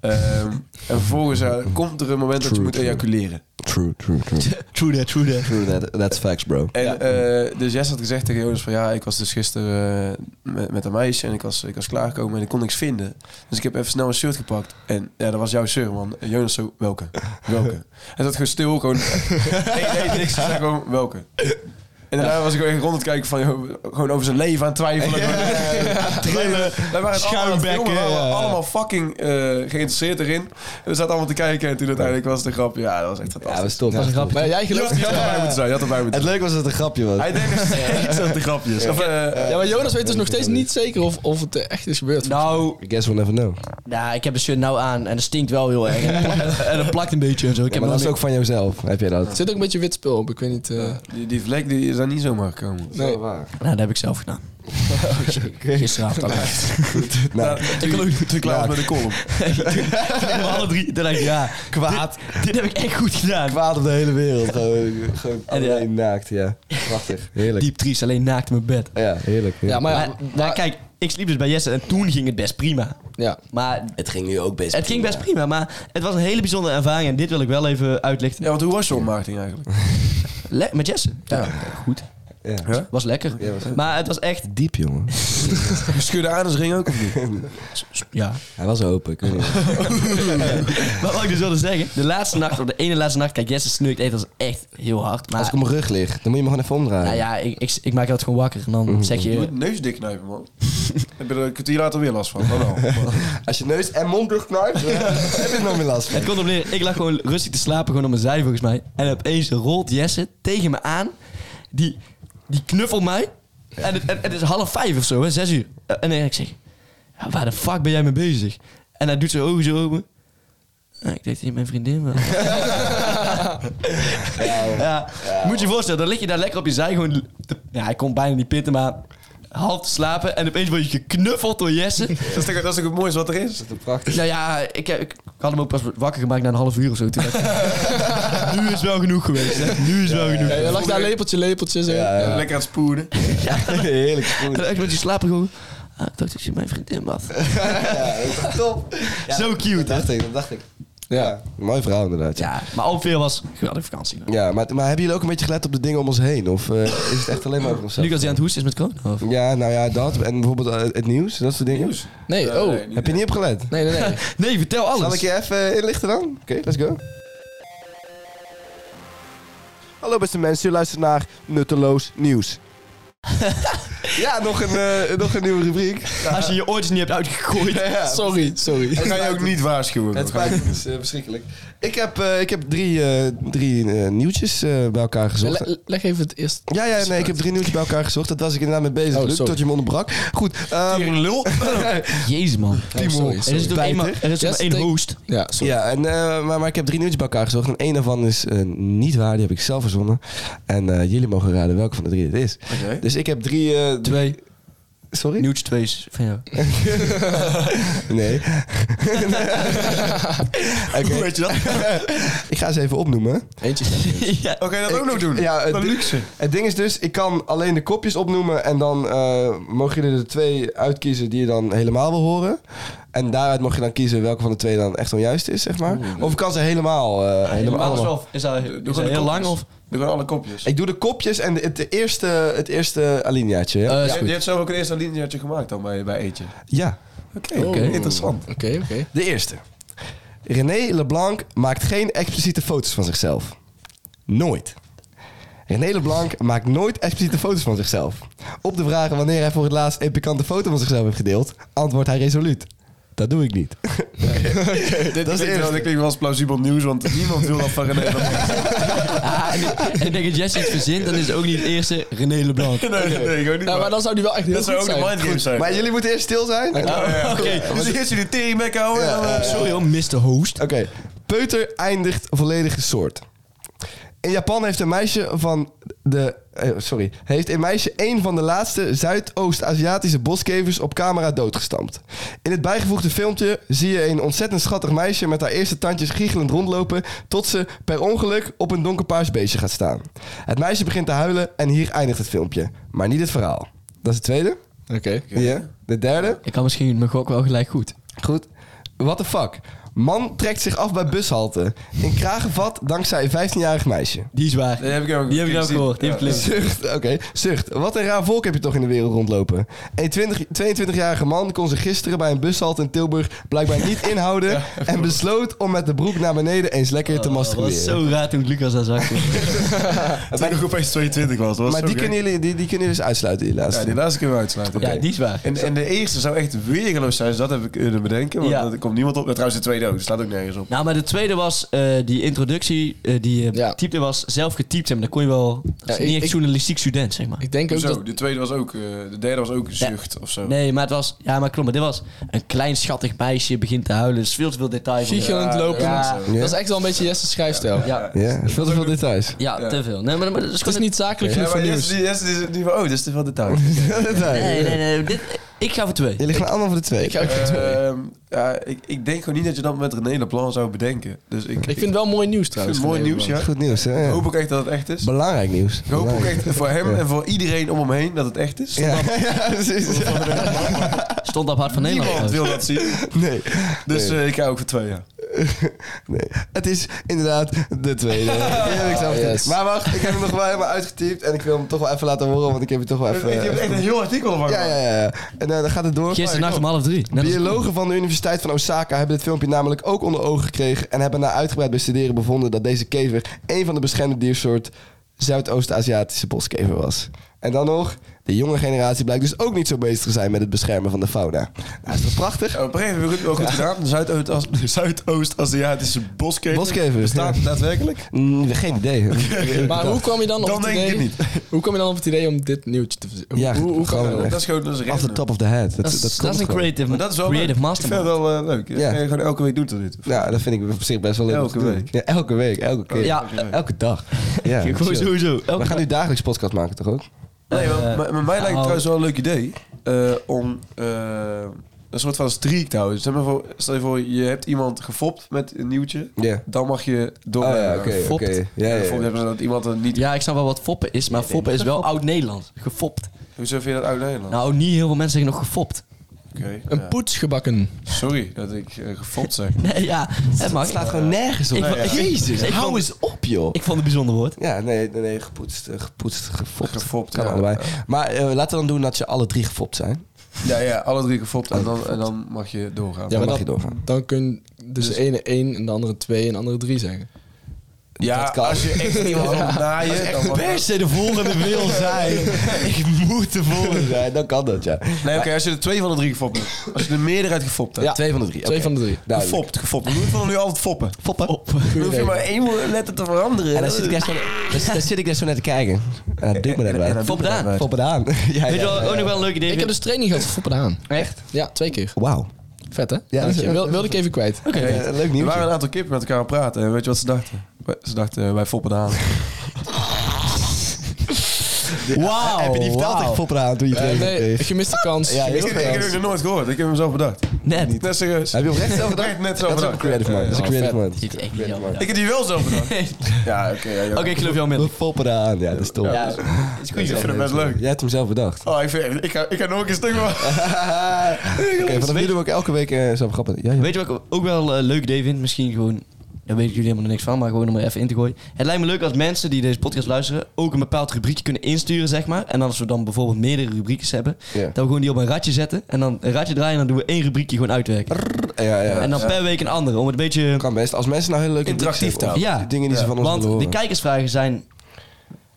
S4: Ehm, en vervolgens eh, komt er een moment dat je
S3: True,
S4: moet
S3: true.
S4: ejaculeren.
S3: True, true, true.
S6: True that, true that.
S3: True, that, that's facts, bro.
S4: En eh, dus Jess had gezegd tegen Jonas van ja, ik was dus gisteren eh, met, met een meisje en ik was, ik was klaargekomen en ik kon niks vinden. Dus ik heb even snel een shirt gepakt. En ja, dat was jouw shirt, man. En Jonas zo, welke? Welke? En dat gewoon stil, gewoon... nee, nee, niks. Ik zei gewoon, welke? En daarna was ik gewoon echt rond aan het kijken van, joh, gewoon over zijn leven aan het twijfelen. Trillen. Wij waren het allemaal, aan het filmen, we waren allemaal fucking eh, geïnteresseerd erin. En we zaten allemaal te kijken en toen uiteindelijk was het een grap. Ja, dat was echt
S3: Ja,
S4: fantastisch.
S3: we stoppen.
S6: Dat was een grapje.
S5: Maar jij
S4: Je
S5: gelooft
S4: had erbij moeten zijn, je had erbij moeten
S3: Het leuke was dat het een grapje was.
S4: hij denkt nog steeds dat het een grapje is. Of, eh,
S5: Ja, maar Jonas weet dus nog steeds niet zeker of, of het eh, echt is gebeurd.
S6: Nou,
S3: I guess we'll never know.
S6: Nou, ik heb de shirt nou aan en dat stinkt wel heel erg. En het plakt- [LAUGHS] En het plakt een beetje en zo.
S3: Ja,
S6: Ik heb
S3: maar dat is
S6: nog
S3: ook van jouzelf, heb jij
S5: Er
S3: dat?
S5: zit ook een beetje wit spul op, ik weet niet. eh,
S4: die, die vlek die is daar niet zomaar gekomen.
S5: nee.
S3: waar.
S6: niet- Nou, dat heb ik zelf [LAUGHS] gedaan. Gisteravond al. [LAUGHS]
S3: Nou,
S6: Ik geloof niet te
S4: Klaar met de column.
S6: alle drie. Dan denk ik, ja, kwaad. Dit, dit heb ik echt goed gedaan.
S3: kwaad op de hele wereld. Gewoon, gewoon
S6: En ja.
S3: alleen naakt, ja. Prachtig. Heerlijk.
S6: Diep triest, alleen naakt in mijn bed.
S3: Ja, heerlijk.
S5: Ja, maar ja,
S6: Maar, nou, kijk, ik sliep dus bij Jesse en toen ging het best prima.
S5: ja.
S6: Maar
S3: Het ging nu ook best
S6: het ging best prima, maar het was een hele bijzondere ervaring. En dit wil ik wel even uitlichten.
S4: Ja, want hoe was je ontmaagding eigenlijk? [LAUGHS]
S6: Le- met Jesse. Ja, goed.
S3: Ja.
S6: Was lekker.
S3: was goed.
S6: maar het was echt...
S3: Diep, jongen.
S4: Schudde anusring dus ook of niet?
S6: Ja,
S3: Hij was open. Ik weet niet.
S6: Maar wat ik dus wilde zeggen, de laatste nacht, op de ene laatste nacht, kijk, Jesse snurkt echt, dat is echt heel hard. Maar
S3: [LAUGHS] Als ik op mijn rug lig, dan moet je me gewoon even omdraaien. Mhm.
S6: nou ja, ik, ik, ik maak het gewoon wakker en dan zeg
S4: [LAUGHS] Je
S6: je...
S4: [LAUGHS] moet neus dikknijpen, man. Heb je er een kwartier later weer last van? Dan [LAUGHS] wel.
S3: Als je neus en mond [LAUGHS] dichtknijpt, dan heb je er nog meer last van.
S6: Het komt op neer, ik lag gewoon rustig te slapen, gewoon op mijn zij volgens mij. En opeens rolt Jesse tegen me aan. Die, die knuffelt mij. En het, en- het is half vijf of zo, hè, zes uur. En ik zeg, "Ja, waar de fuck ben jij mee bezig? En hij doet zijn ogen zo open. "Ja, ik deed tegen mijn vriendin wel. ja, Moet je je voorstellen, dan lig je daar lekker op je zij. Gewoon, te- ja, hij komt bijna niet pitten, maar half te slapen. En opeens word je geknuffeld door Jesse.
S4: Dat is, toch, dat is toch het mooiste wat er is?
S6: prachtig. Nou ja, ik, heb- ik had hem ook pas wakker gemaakt na een half uur of zo. Toen dacht ik, [LAUGHS] nu is wel genoeg geweest. Hè. Nu is wel genoeg.
S5: Ja, je lag daar lepeltje, lepeltje. Zo. Ja.
S4: Lekker aan het [LAUGHS] spoeden.
S6: Ja,
S3: heerlijk.
S6: En echt met je slapen gewoon. Ah, ik dacht dat je mijn vriendin was.
S3: Top.
S6: Zo cute,
S3: dat dacht ik, dat dacht ik.
S5: Ja.
S3: Mooi verhaal inderdaad. Ja,
S6: Maar ook veel was geweldige vakantie.
S3: ja maar, maar hebben jullie ook een beetje gelet op de dingen om ons heen? Of eh, is het echt alleen maar over onszelf?
S6: Lucas die aan het hoesten is met corona. Of?
S3: Ja, nou ja, dat. En bijvoorbeeld eh, het nieuws, dat soort dingen.
S5: Nee, oh.
S3: Heb je niet opgelet?
S5: Nee, nee, [LAUGHS] nee.
S6: Nee, vertel alles.
S3: Zal ik je even eh, inlichten dan? Oké, let's go. Hallo beste mensen, u luistert naar Nutteloos
S5: [LAUGHS]
S3: Nieuws. ja, nog een, eh, nog een nieuwe rubriek.
S6: Als je je oortjes niet hebt uitgegooid. [LAUGHS]
S5: Sorry, sorry.
S4: Dan kan je ook niet waarschuwen.
S3: Het spijt me, het is eh, verschrikkelijk. Ik heb, eh, ik heb drie, eh, drie eh, nieuwtjes eh, bij elkaar gezocht.
S5: Le- leg even het eerst.
S3: Ja, ja, nee, ik heb drie nieuwtjes bij elkaar gezocht. Dat was ik inderdaad mee bezig,
S5: Oh,
S3: Luc,
S5: sorry.
S3: tot je me onderbrak. Goed, ehm,
S6: [LAUGHS]
S4: lul.
S6: Jezus man.
S5: Oh, sorry,
S6: Er
S5: sorry.
S6: is toch één, maar- er is
S5: Ja,
S6: maar één
S5: steek-
S6: host.
S5: Ja, sorry.
S3: Ja, en, eh, maar, maar ik heb drie nieuwtjes bij elkaar gezocht. En één daarvan is eh, niet waar, die heb ik zelf verzonnen. En eh, jullie mogen raden welke van de drie het is.
S4: Oké.
S3: Dus ik heb drie... eh, drie-
S6: Twee.
S3: Sorry?
S6: Nieuwtje twee is van jou.
S3: Nee. Hoe weet je dat? ik ga ze even opnoemen.
S5: Eentje. is-
S6: [LAUGHS] ja.
S4: Oké, dat ook nog doen.
S3: Ja, het,
S4: Wat
S3: ding-
S4: luxe.
S3: het ding is dus, ik kan alleen de kopjes opnoemen en dan eh, mogen jullie er twee uitkiezen die je dan helemaal wil horen. En daaruit mag je dan kiezen welke van de twee dan echt onjuist is, zeg maar. Of ik kan ze helemaal... eh, helemaal
S6: Normaal is
S3: allemaal.
S6: wel- is dat, is dat
S4: gewoon de
S6: heel lang
S4: kopjes. [LAUGHS]
S6: of?
S4: Doe gewoon alle kopjes.
S3: Ik doe de kopjes en de- het eerste, het eerste alineaatje. Ja.
S6: Eh, is
S4: Ja,
S6: goed.
S4: je hebt zelf ook een eerste alineaatje gemaakt dan bij, bij [LAUGHS] Eetje.
S3: ja.
S4: Oké, Oh.
S5: Oké.
S4: interessant.
S5: Oké, oké.
S3: De eerste. René LeBlanc maakt geen expliciete foto's van zichzelf. Nooit. René
S4: [LAUGHS]
S3: LeBlanc maakt nooit expliciete foto's van zichzelf. Op de vraag wanneer hij voor het laatst een pikante foto van zichzelf heeft gedeeld, antwoordt hij resoluut. Dat doe ik
S4: [LAUGHS]
S3: niet.
S4: Dit
S3: is de
S4: dat klinkt wel,
S3: eerste.
S4: dit klinkt wel als plausibel nieuws, want niemand wil [LAUGHS] dat van René. Leblanc.
S6: Ah, en, en ik denk dat Jesse iets verzint, dan is het ook niet het eerste René Leblanc.
S4: nee, nee, nee, gewoon niet.
S5: Nou, maar
S4: waar.
S5: dan zou die wel echt heel
S4: dat zou
S5: goed
S4: ook de
S5: zijn.
S4: mindgame zijn.
S3: Maar jullie moeten eerst stil zijn. En-
S4: Oh, ja, Oké, dus eerst jullie teringmek houden. en dan, eh,
S6: Sorry hoor, Mr. Host.
S3: Oké. Peuter eindigt volledige soort. In Japan heeft een meisje van de. eh, sorry. Heeft een meisje een van de laatste Zuidoost-Aziatische boskevers op camera doodgestampt. In het bijgevoegde filmpje zie je een ontzettend schattig meisje met haar eerste tandjes giechelend rondlopen. tot ze per ongeluk op een donkerpaars beestje gaat staan. Het meisje begint te huilen en hier eindigt het filmpje. Maar niet het verhaal. Dat is de tweede.
S5: Oké.
S3: Ja. De derde.
S6: Ik kan misschien mijn gok wel gelijk goed.
S3: Goed. What the fuck? Man trekt zich af bij bushalte. In kragenvat dankzij een 15-jarig meisje.
S6: Die is waar.
S4: Die heb ik ook
S6: Die heb ik ook
S4: gezien.
S6: gehoord. Die
S4: Ja.
S6: heb ik gelezen.
S3: Zucht, oké. Zucht. Wat een raar volk heb je toch in de wereld rondlopen. Een 20 22-jarige man kon zich gisteren bij een bushalte in Tilburg blijkbaar niet inhouden. en besloot om met de broek naar beneden eens lekker te
S6: Oh, dat
S3: masturberen.
S6: was zo raar toen Lucas dat zag.
S4: Toen ik opeens 22 was. dat was
S3: Maar
S4: zo
S3: die
S4: gek.
S3: kunnen, jullie, die, die kunnen jullie dus uitsluiten, die laatste.
S4: Ja, die laatste kunnen we uitsluiten.
S6: Ja,
S4: Oké.
S6: die is waar.
S4: En, en de eerste zou echt weergeloos zijn, dus dat heb ik kunnen bedenken. Want
S6: Ja.
S4: er komt niemand op. Nou, trouwens, de tweede ook, dus staat ook nergens op.
S6: Nou, maar de tweede was eh, die introductie eh, die je
S5: Ja.
S6: typte was zelf getypt. En dan kon je wel... Dat is
S5: Ja,
S6: niet
S5: ik-
S6: echt
S5: ik-
S6: journalistiek student, zeg maar.
S5: Ik denk ook
S4: Zo,
S5: dat...
S4: de tweede was ook, eh, de derde was ook zucht of zo.
S6: Nee, maar het was... Ja, maar klopt. Maar dit was een klein schattig meisje begint te huilen. Dus veel te veel detail. voor de-
S5: Giechelend lopen.
S6: Ja.
S5: Dat is echt wel een beetje Jesse's schrijfstijl.
S6: Ja,
S3: Ja, veel te veel details. [LAUGHS]
S6: ja, te veel. Nee, maar, maar dat is
S5: Het is
S6: gewoon
S5: niet zakelijk
S4: Ja,
S5: genoeg voor
S4: maar
S5: nieuws.
S4: Jesse, die, Jesse die, die van, oh, dit is te veel detail.
S6: Nee, nee, nee. Dit, ik ga voor twee.
S3: Jullie gaan allemaal voor de twee.
S5: Ik, ga ook voor twee.
S4: Ehm, ja, ik, ik denk gewoon niet dat je dat met René Leblanc zou bedenken. Dus ik,
S5: ik vind het wel mooi nieuws
S4: het
S5: trouwens.
S4: mooi
S5: van
S4: nieuws, ja.
S3: Goed nieuws, hè?
S4: Ik hoop ook echt dat het echt is.
S3: Belangrijk nieuws.
S4: Ik hoop ook echt voor hem
S3: Ja.
S4: en voor iedereen om hem heen dat het echt is. [LAUGHS]
S3: Ja, [LAUGHS] ja precies.
S6: Stond op Hart van Nederland.
S4: Niemand wil
S6: trouwens.
S4: dat zien.
S3: Nee.
S4: Dus
S3: Nee.
S4: eh, ik ga ook voor twee, ja.
S3: [LAUGHS] Nee, het is inderdaad de [LAUGHS] tweede. Die heb ik zelf
S5: Yes.
S3: getypt. Maar wacht, ik heb hem nog wel helemaal uitgetypt. En ik wil hem toch wel even laten horen, want ik heb hem toch wel
S4: Ik heb
S3: even...
S4: echt een heel artikel van.
S3: Ja, ja, ja. ja. En eh, dan gaat het door.
S6: Gisternacht om half drie. Net als-
S3: Biologen van de Universiteit van Osaka hebben dit filmpje namelijk ook onder ogen gekregen... en hebben na uitgebreid bestuderen bevonden dat deze kever... een van de beschermde diersoort Zuidoost-Aziatische boskever was. En dan nog, De jonge generatie blijkt dus ook niet zo bezig te zijn met het beschermen van de fauna. Nou, is dat prachtig?
S4: Op een gegeven moment wel goed gedaan. De Zuidoost- de Zuidoost-Aziatische boskever.
S3: Boskever,
S4: Bestaat
S3: ja.
S4: het daadwerkelijk?
S3: Mm, geen [LAUGHS] idee.
S5: Maar hoe kwam je dan op
S4: Dan
S5: het
S4: denk
S5: idee?
S4: ik het niet.
S5: [LAUGHS] Hoe kwam je dan op het idee om dit nieuwtje te verzinnen?
S3: Ja,
S5: hoe, hoe, hoe kwam je
S3: gewoon
S5: dan op?
S4: Dat is gewoon dat is
S3: Off the
S4: random.
S3: top of the head. Dat,
S6: Dat is-
S3: dat
S6: dat
S3: komt
S6: is een
S3: gewoon.
S6: creative,
S4: Maar dat is wel
S6: creative
S4: leuk. Ik
S6: mastermind.
S4: vind dat wel eh, leuk. Dat
S3: Ja.
S4: kan je gewoon elke week doen tot dit.
S3: Ja, dat vind ik op zich best wel leuk. om
S4: Elke
S3: te doen.
S4: week.
S3: Ja, elke week, elke keer.
S6: Ja,
S3: Elke dag.
S6: [LAUGHS]
S3: Ja,
S4: [LAUGHS]
S6: gewoon
S3: chill.
S6: sowieso. Elke
S3: We gaan nu dagelijks podcast maken, toch ook?
S4: Nee, maar,
S6: Eh,
S4: maar- maar mij lijkt het
S6: nou.
S4: trouwens wel een leuk idee eh, om eh, een soort van streak te houden. Stel je, voor, stel je voor, je hebt iemand gefopt met een nieuwtje.
S3: Ja.
S4: Dan mag je door.
S3: Oh ja,
S4: eh,
S3: oké,
S4: gefopt.
S3: oké. Ja, ja, ja.
S4: Gefopt hebben ze dat iemand dat niet...
S6: Ja, ik snap wel wat foppen is, maar foppen is wel oud-Nederlands. Gefopt.
S4: Hoezo vind je dat uit Nederland?
S6: Nou, niet heel veel mensen zeggen nog gefopt. [LAUGHS]
S4: Oké,
S5: Een
S4: ja.
S5: poets gebakken.
S4: Sorry dat ik eh, gefopt zeg.
S6: Nee, ja, het mag.
S3: slaat gewoon nergens op.
S6: Ik-
S3: Nee, ja. Jezus,
S6: ik-
S3: hou eens op, joh.
S6: Ik vond het een bijzonder woord.
S3: Ja, nee, nee, nee, gepoetst, eh, gepoetst, gefopt.
S4: Gefopt,
S3: kan
S4: ja.
S3: allebei. Maar eh, laten we dan doen dat je alle drie gefopt zijn.
S4: Ja, ja, alle drie gefopt. En dan, en dan mag je
S3: Ja,
S4: doorgaan. Ja,
S3: dan
S5: maar
S3: mag
S5: dat-
S3: je doorgaan.
S5: Dan kun je dus de ene 1 en de andere 2 en de andere 3 zeggen.
S3: dat kan.
S4: als je echt iemand wil naaien, dan mag
S3: se de volgende [LAUGHS] wil zijn. ik moet de volgende zijn, dan kan dat, ja.
S4: Nee, oké, als je er twee van de drie gefopt hebt. Als je de meerderheid gefopt hebt.
S5: Ja.
S3: Twee van de drie.
S5: Twee
S3: oké.
S5: van de drie.
S3: Duidelijk.
S4: Gefopt, gefopt. Dan moeten we nu altijd foppen.
S3: Foppen.
S4: Dan hoef je
S5: idee.
S4: maar één letter te veranderen.
S3: En dan zit ik daar zo,
S6: [LAUGHS]
S3: dan, dan zit ik daar zo naar te kijken. En dat doet me net wat.
S6: Foppen aan.
S3: Fop het aan. [LAUGHS] ja,
S6: Weet je
S3: ja,
S6: wel,
S3: ja.
S6: ook nog wel een leuk idee.
S5: Ik heb dus training gehad voor foppen aan.
S6: Echt?
S5: Ja, twee keer.
S3: Wauw.
S5: Vet hè?
S3: Ja,
S5: Dank
S3: dat
S5: je.
S3: is-
S5: Wil, wilde ik even kwijt.
S6: Oké.
S3: Eh, leuk nieuws.
S4: Er waren een aantal kippen met elkaar aan het praten. En weet je wat ze dachten? Ze dachten, eh, wij foppen
S3: [LAUGHS]
S4: de haan.
S6: Wauw.
S3: Heb je die verteld tegen Fopper aan toen je
S5: Eh,
S3: training
S5: nee,
S3: kreeg?
S5: gemiste kans.
S3: Ja,
S4: Ik,
S5: Gemiste
S4: ik heb
S5: kans.
S4: het nooit gehoord. Ik heb hem zelf bedacht.
S6: Net.
S4: Net serieus.
S3: Heb je oprecht zelf gedaan?
S4: Echt net zo
S3: Dat is ook een
S4: bedacht.
S3: creative mind. Dat is een
S5: Ja, ja,
S3: creative mind.
S5: vet.
S6: Dit is echt niet jammer.
S4: Ik heb die wel zelf
S3: [LAUGHS]
S4: bedacht. Ja, oké. ja, ja.
S6: [LAUGHS] Oké, ik geloof jou
S3: We
S6: met.
S3: foppen aan. Ja, dat is top.
S6: Ja,
S3: Dat is-
S6: is
S4: Ik vind
S6: goed.
S4: het best leuk.
S3: Jij hebt hem zelf bedacht.
S4: Oh, ik, vind, ik, ga, ik ga nog een keer stuk maken.
S3: Oké, vanaf nu doen we ook elke week eh, zo grappig. Ja, ja.
S6: Weet je wat ik ook wel eh, leuk idee vind? Misschien gewoon, daar weten jullie helemaal niks van, maar gewoon om er even in te gooien. Het lijkt me leuk als mensen die deze podcast luisteren ook een bepaald rubriekje kunnen insturen, zeg maar. En als we dan bijvoorbeeld meerdere rubriekjes hebben,
S3: Ja.
S6: dat we gewoon die op een ratje zetten. En dan een ratje draaien en dan doen we één rubriekje gewoon uitwerken.
S3: Ja, ja.
S6: en dan per week een andere, om het een beetje...
S3: kan best. Als mensen nou heel leuk
S4: Interactief te
S3: houden.
S6: houden.
S3: Die dingen die ze van ons
S6: Want
S3: willen
S6: de
S3: horen.
S6: kijkersvragen zijn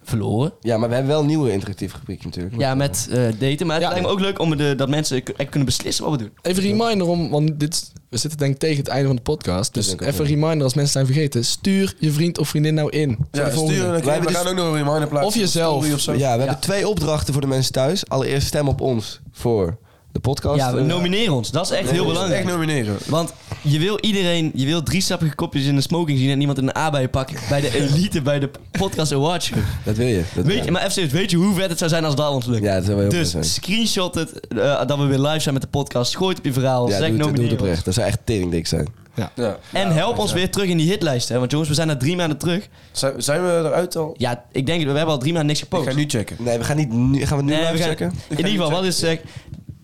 S6: verloren.
S3: Ja, maar we hebben wel een nieuwe interactief rubriek natuurlijk.
S6: Ja, met eh, daten. Maar het
S5: Ja.
S6: lijkt me ook leuk om de, dat mensen k- echt kunnen beslissen wat we doen.
S5: Even een reminder om, want dit, is- we zitten denk ik tegen het einde van de podcast. Dus
S3: denk ik
S5: even een reminder als mensen zijn vergeten. Stuur je vriend of vriendin nou in. Voor
S4: Ja,
S5: de volgende.
S4: sturen.
S3: Wij
S4: We
S3: hebben dus-
S4: gaan ook nog een reminder plaatsen.
S5: Of jezelf.
S4: Story Of zo.
S3: Ja, we hebben twee opdrachten voor de mensen thuis. Allereerst stem op ons voor de podcast.
S6: Ja,
S3: Eh,
S6: nomineer ons. Dat is echt heel belangrijk.
S4: Echt nomineren.
S6: Want je wil iedereen, je wil drie sappige kopjes in de smoking zien en iemand in een A bij je pakken. Bij de elite, bij de podcast awards. show.
S3: Dat wil je. Dat
S6: Weet je, maar even weet je hoe vet het zou zijn als dat ons lukt?
S3: Ja, dat zou wel heel
S6: dus
S3: vet zijn.
S6: screenshot het, eh, dat we weer live zijn met de podcast. Gooi het op je verhaal,
S3: ja,
S6: zeg
S3: doe, het- doe
S6: nomineer
S3: het
S6: ons.
S3: oprecht. Dat zou echt teringdik zijn.
S4: Ja.
S6: En help ons weer terug in die hitlijst, hè. Want jongens, we zijn na drie maanden terug.
S4: Zijn, zijn we eruit al?
S6: Ja, ik denk, we hebben al drie maanden niks
S4: Ik
S6: gepost.
S4: ga nu checken.
S3: Nee, we gaan, niet nu, gaan we nu
S6: Nee,
S3: live
S6: we gaan-
S3: checken?
S6: In ieder geval, wat is zeg?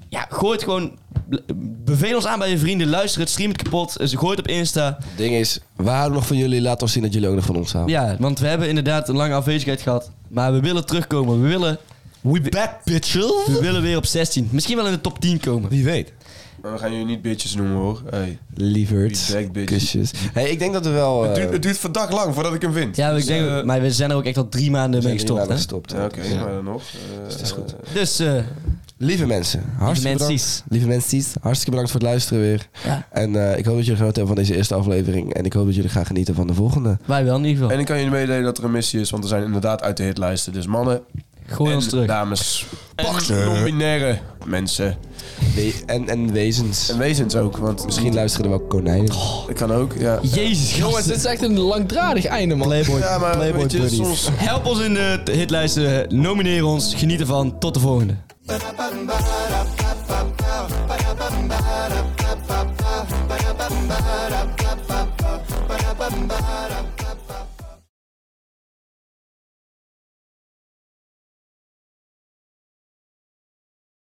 S6: Ja, gooi het gewoon. Beveel ons aan bij je vrienden. Luister het, stream het kapot. Ze gooi het op Insta.
S3: Het ding is, we houden nog van jullie. Laat ons zien dat jullie ook nog van ons houden.
S6: Ja, want we hebben inderdaad een lange afwezigheid gehad. Maar we willen terugkomen. We willen. We back, bitches. We willen weer op 16. Misschien wel in de top 10 komen.
S3: Wie weet.
S4: Maar we gaan jullie niet bitches noemen hoor. Hey.
S3: Lieverds.
S4: Wie weet, bitch.
S3: Kusjes. Hey, ik denk dat we wel... eh,
S4: Het, duurt, het duurt vandaag lang voordat ik hem vind.
S6: Ja, ik
S4: Dus,
S6: denk,
S4: eh,
S6: maar we zijn er ook echt al drie maanden mee
S3: zijn
S6: gestopt.
S3: hierna
S6: Hè?
S3: gestopt.
S4: ja, Oké, maar dan nog. het is goed.
S6: Dus eh,
S3: Lieve mensen, hartstikke
S6: mensies.
S3: bedankt. Lieve mensies, hartstikke bedankt voor het luisteren weer.
S6: Ja.
S3: En eh, ik hoop dat jullie genoten hebben van deze eerste aflevering. En ik hoop dat jullie gaan genieten van de volgende.
S6: wij wel in ieder geval.
S4: En ik kan jullie meedelen dat er een missie is, want we zijn inderdaad uit de hitlijsten. Dus mannen
S6: Gooi
S4: en
S6: ons terug.
S4: dames, en eh, non-binaire mensen.
S3: We- en, en wezens.
S4: En wezens ook, want
S3: Misschien luisteren er wel konijnen.
S4: ik kan ook, ja.
S6: Oh, Jezus,
S5: Jongens,
S6: jongens.
S5: dit is echt een langdradig einde, man.
S4: Ja, maar
S3: Playboy
S4: weet je,
S3: buddies.
S4: soms...
S6: Help ons in de hitlijsten. Nomineer ons. Geniet ervan. Tot de volgende.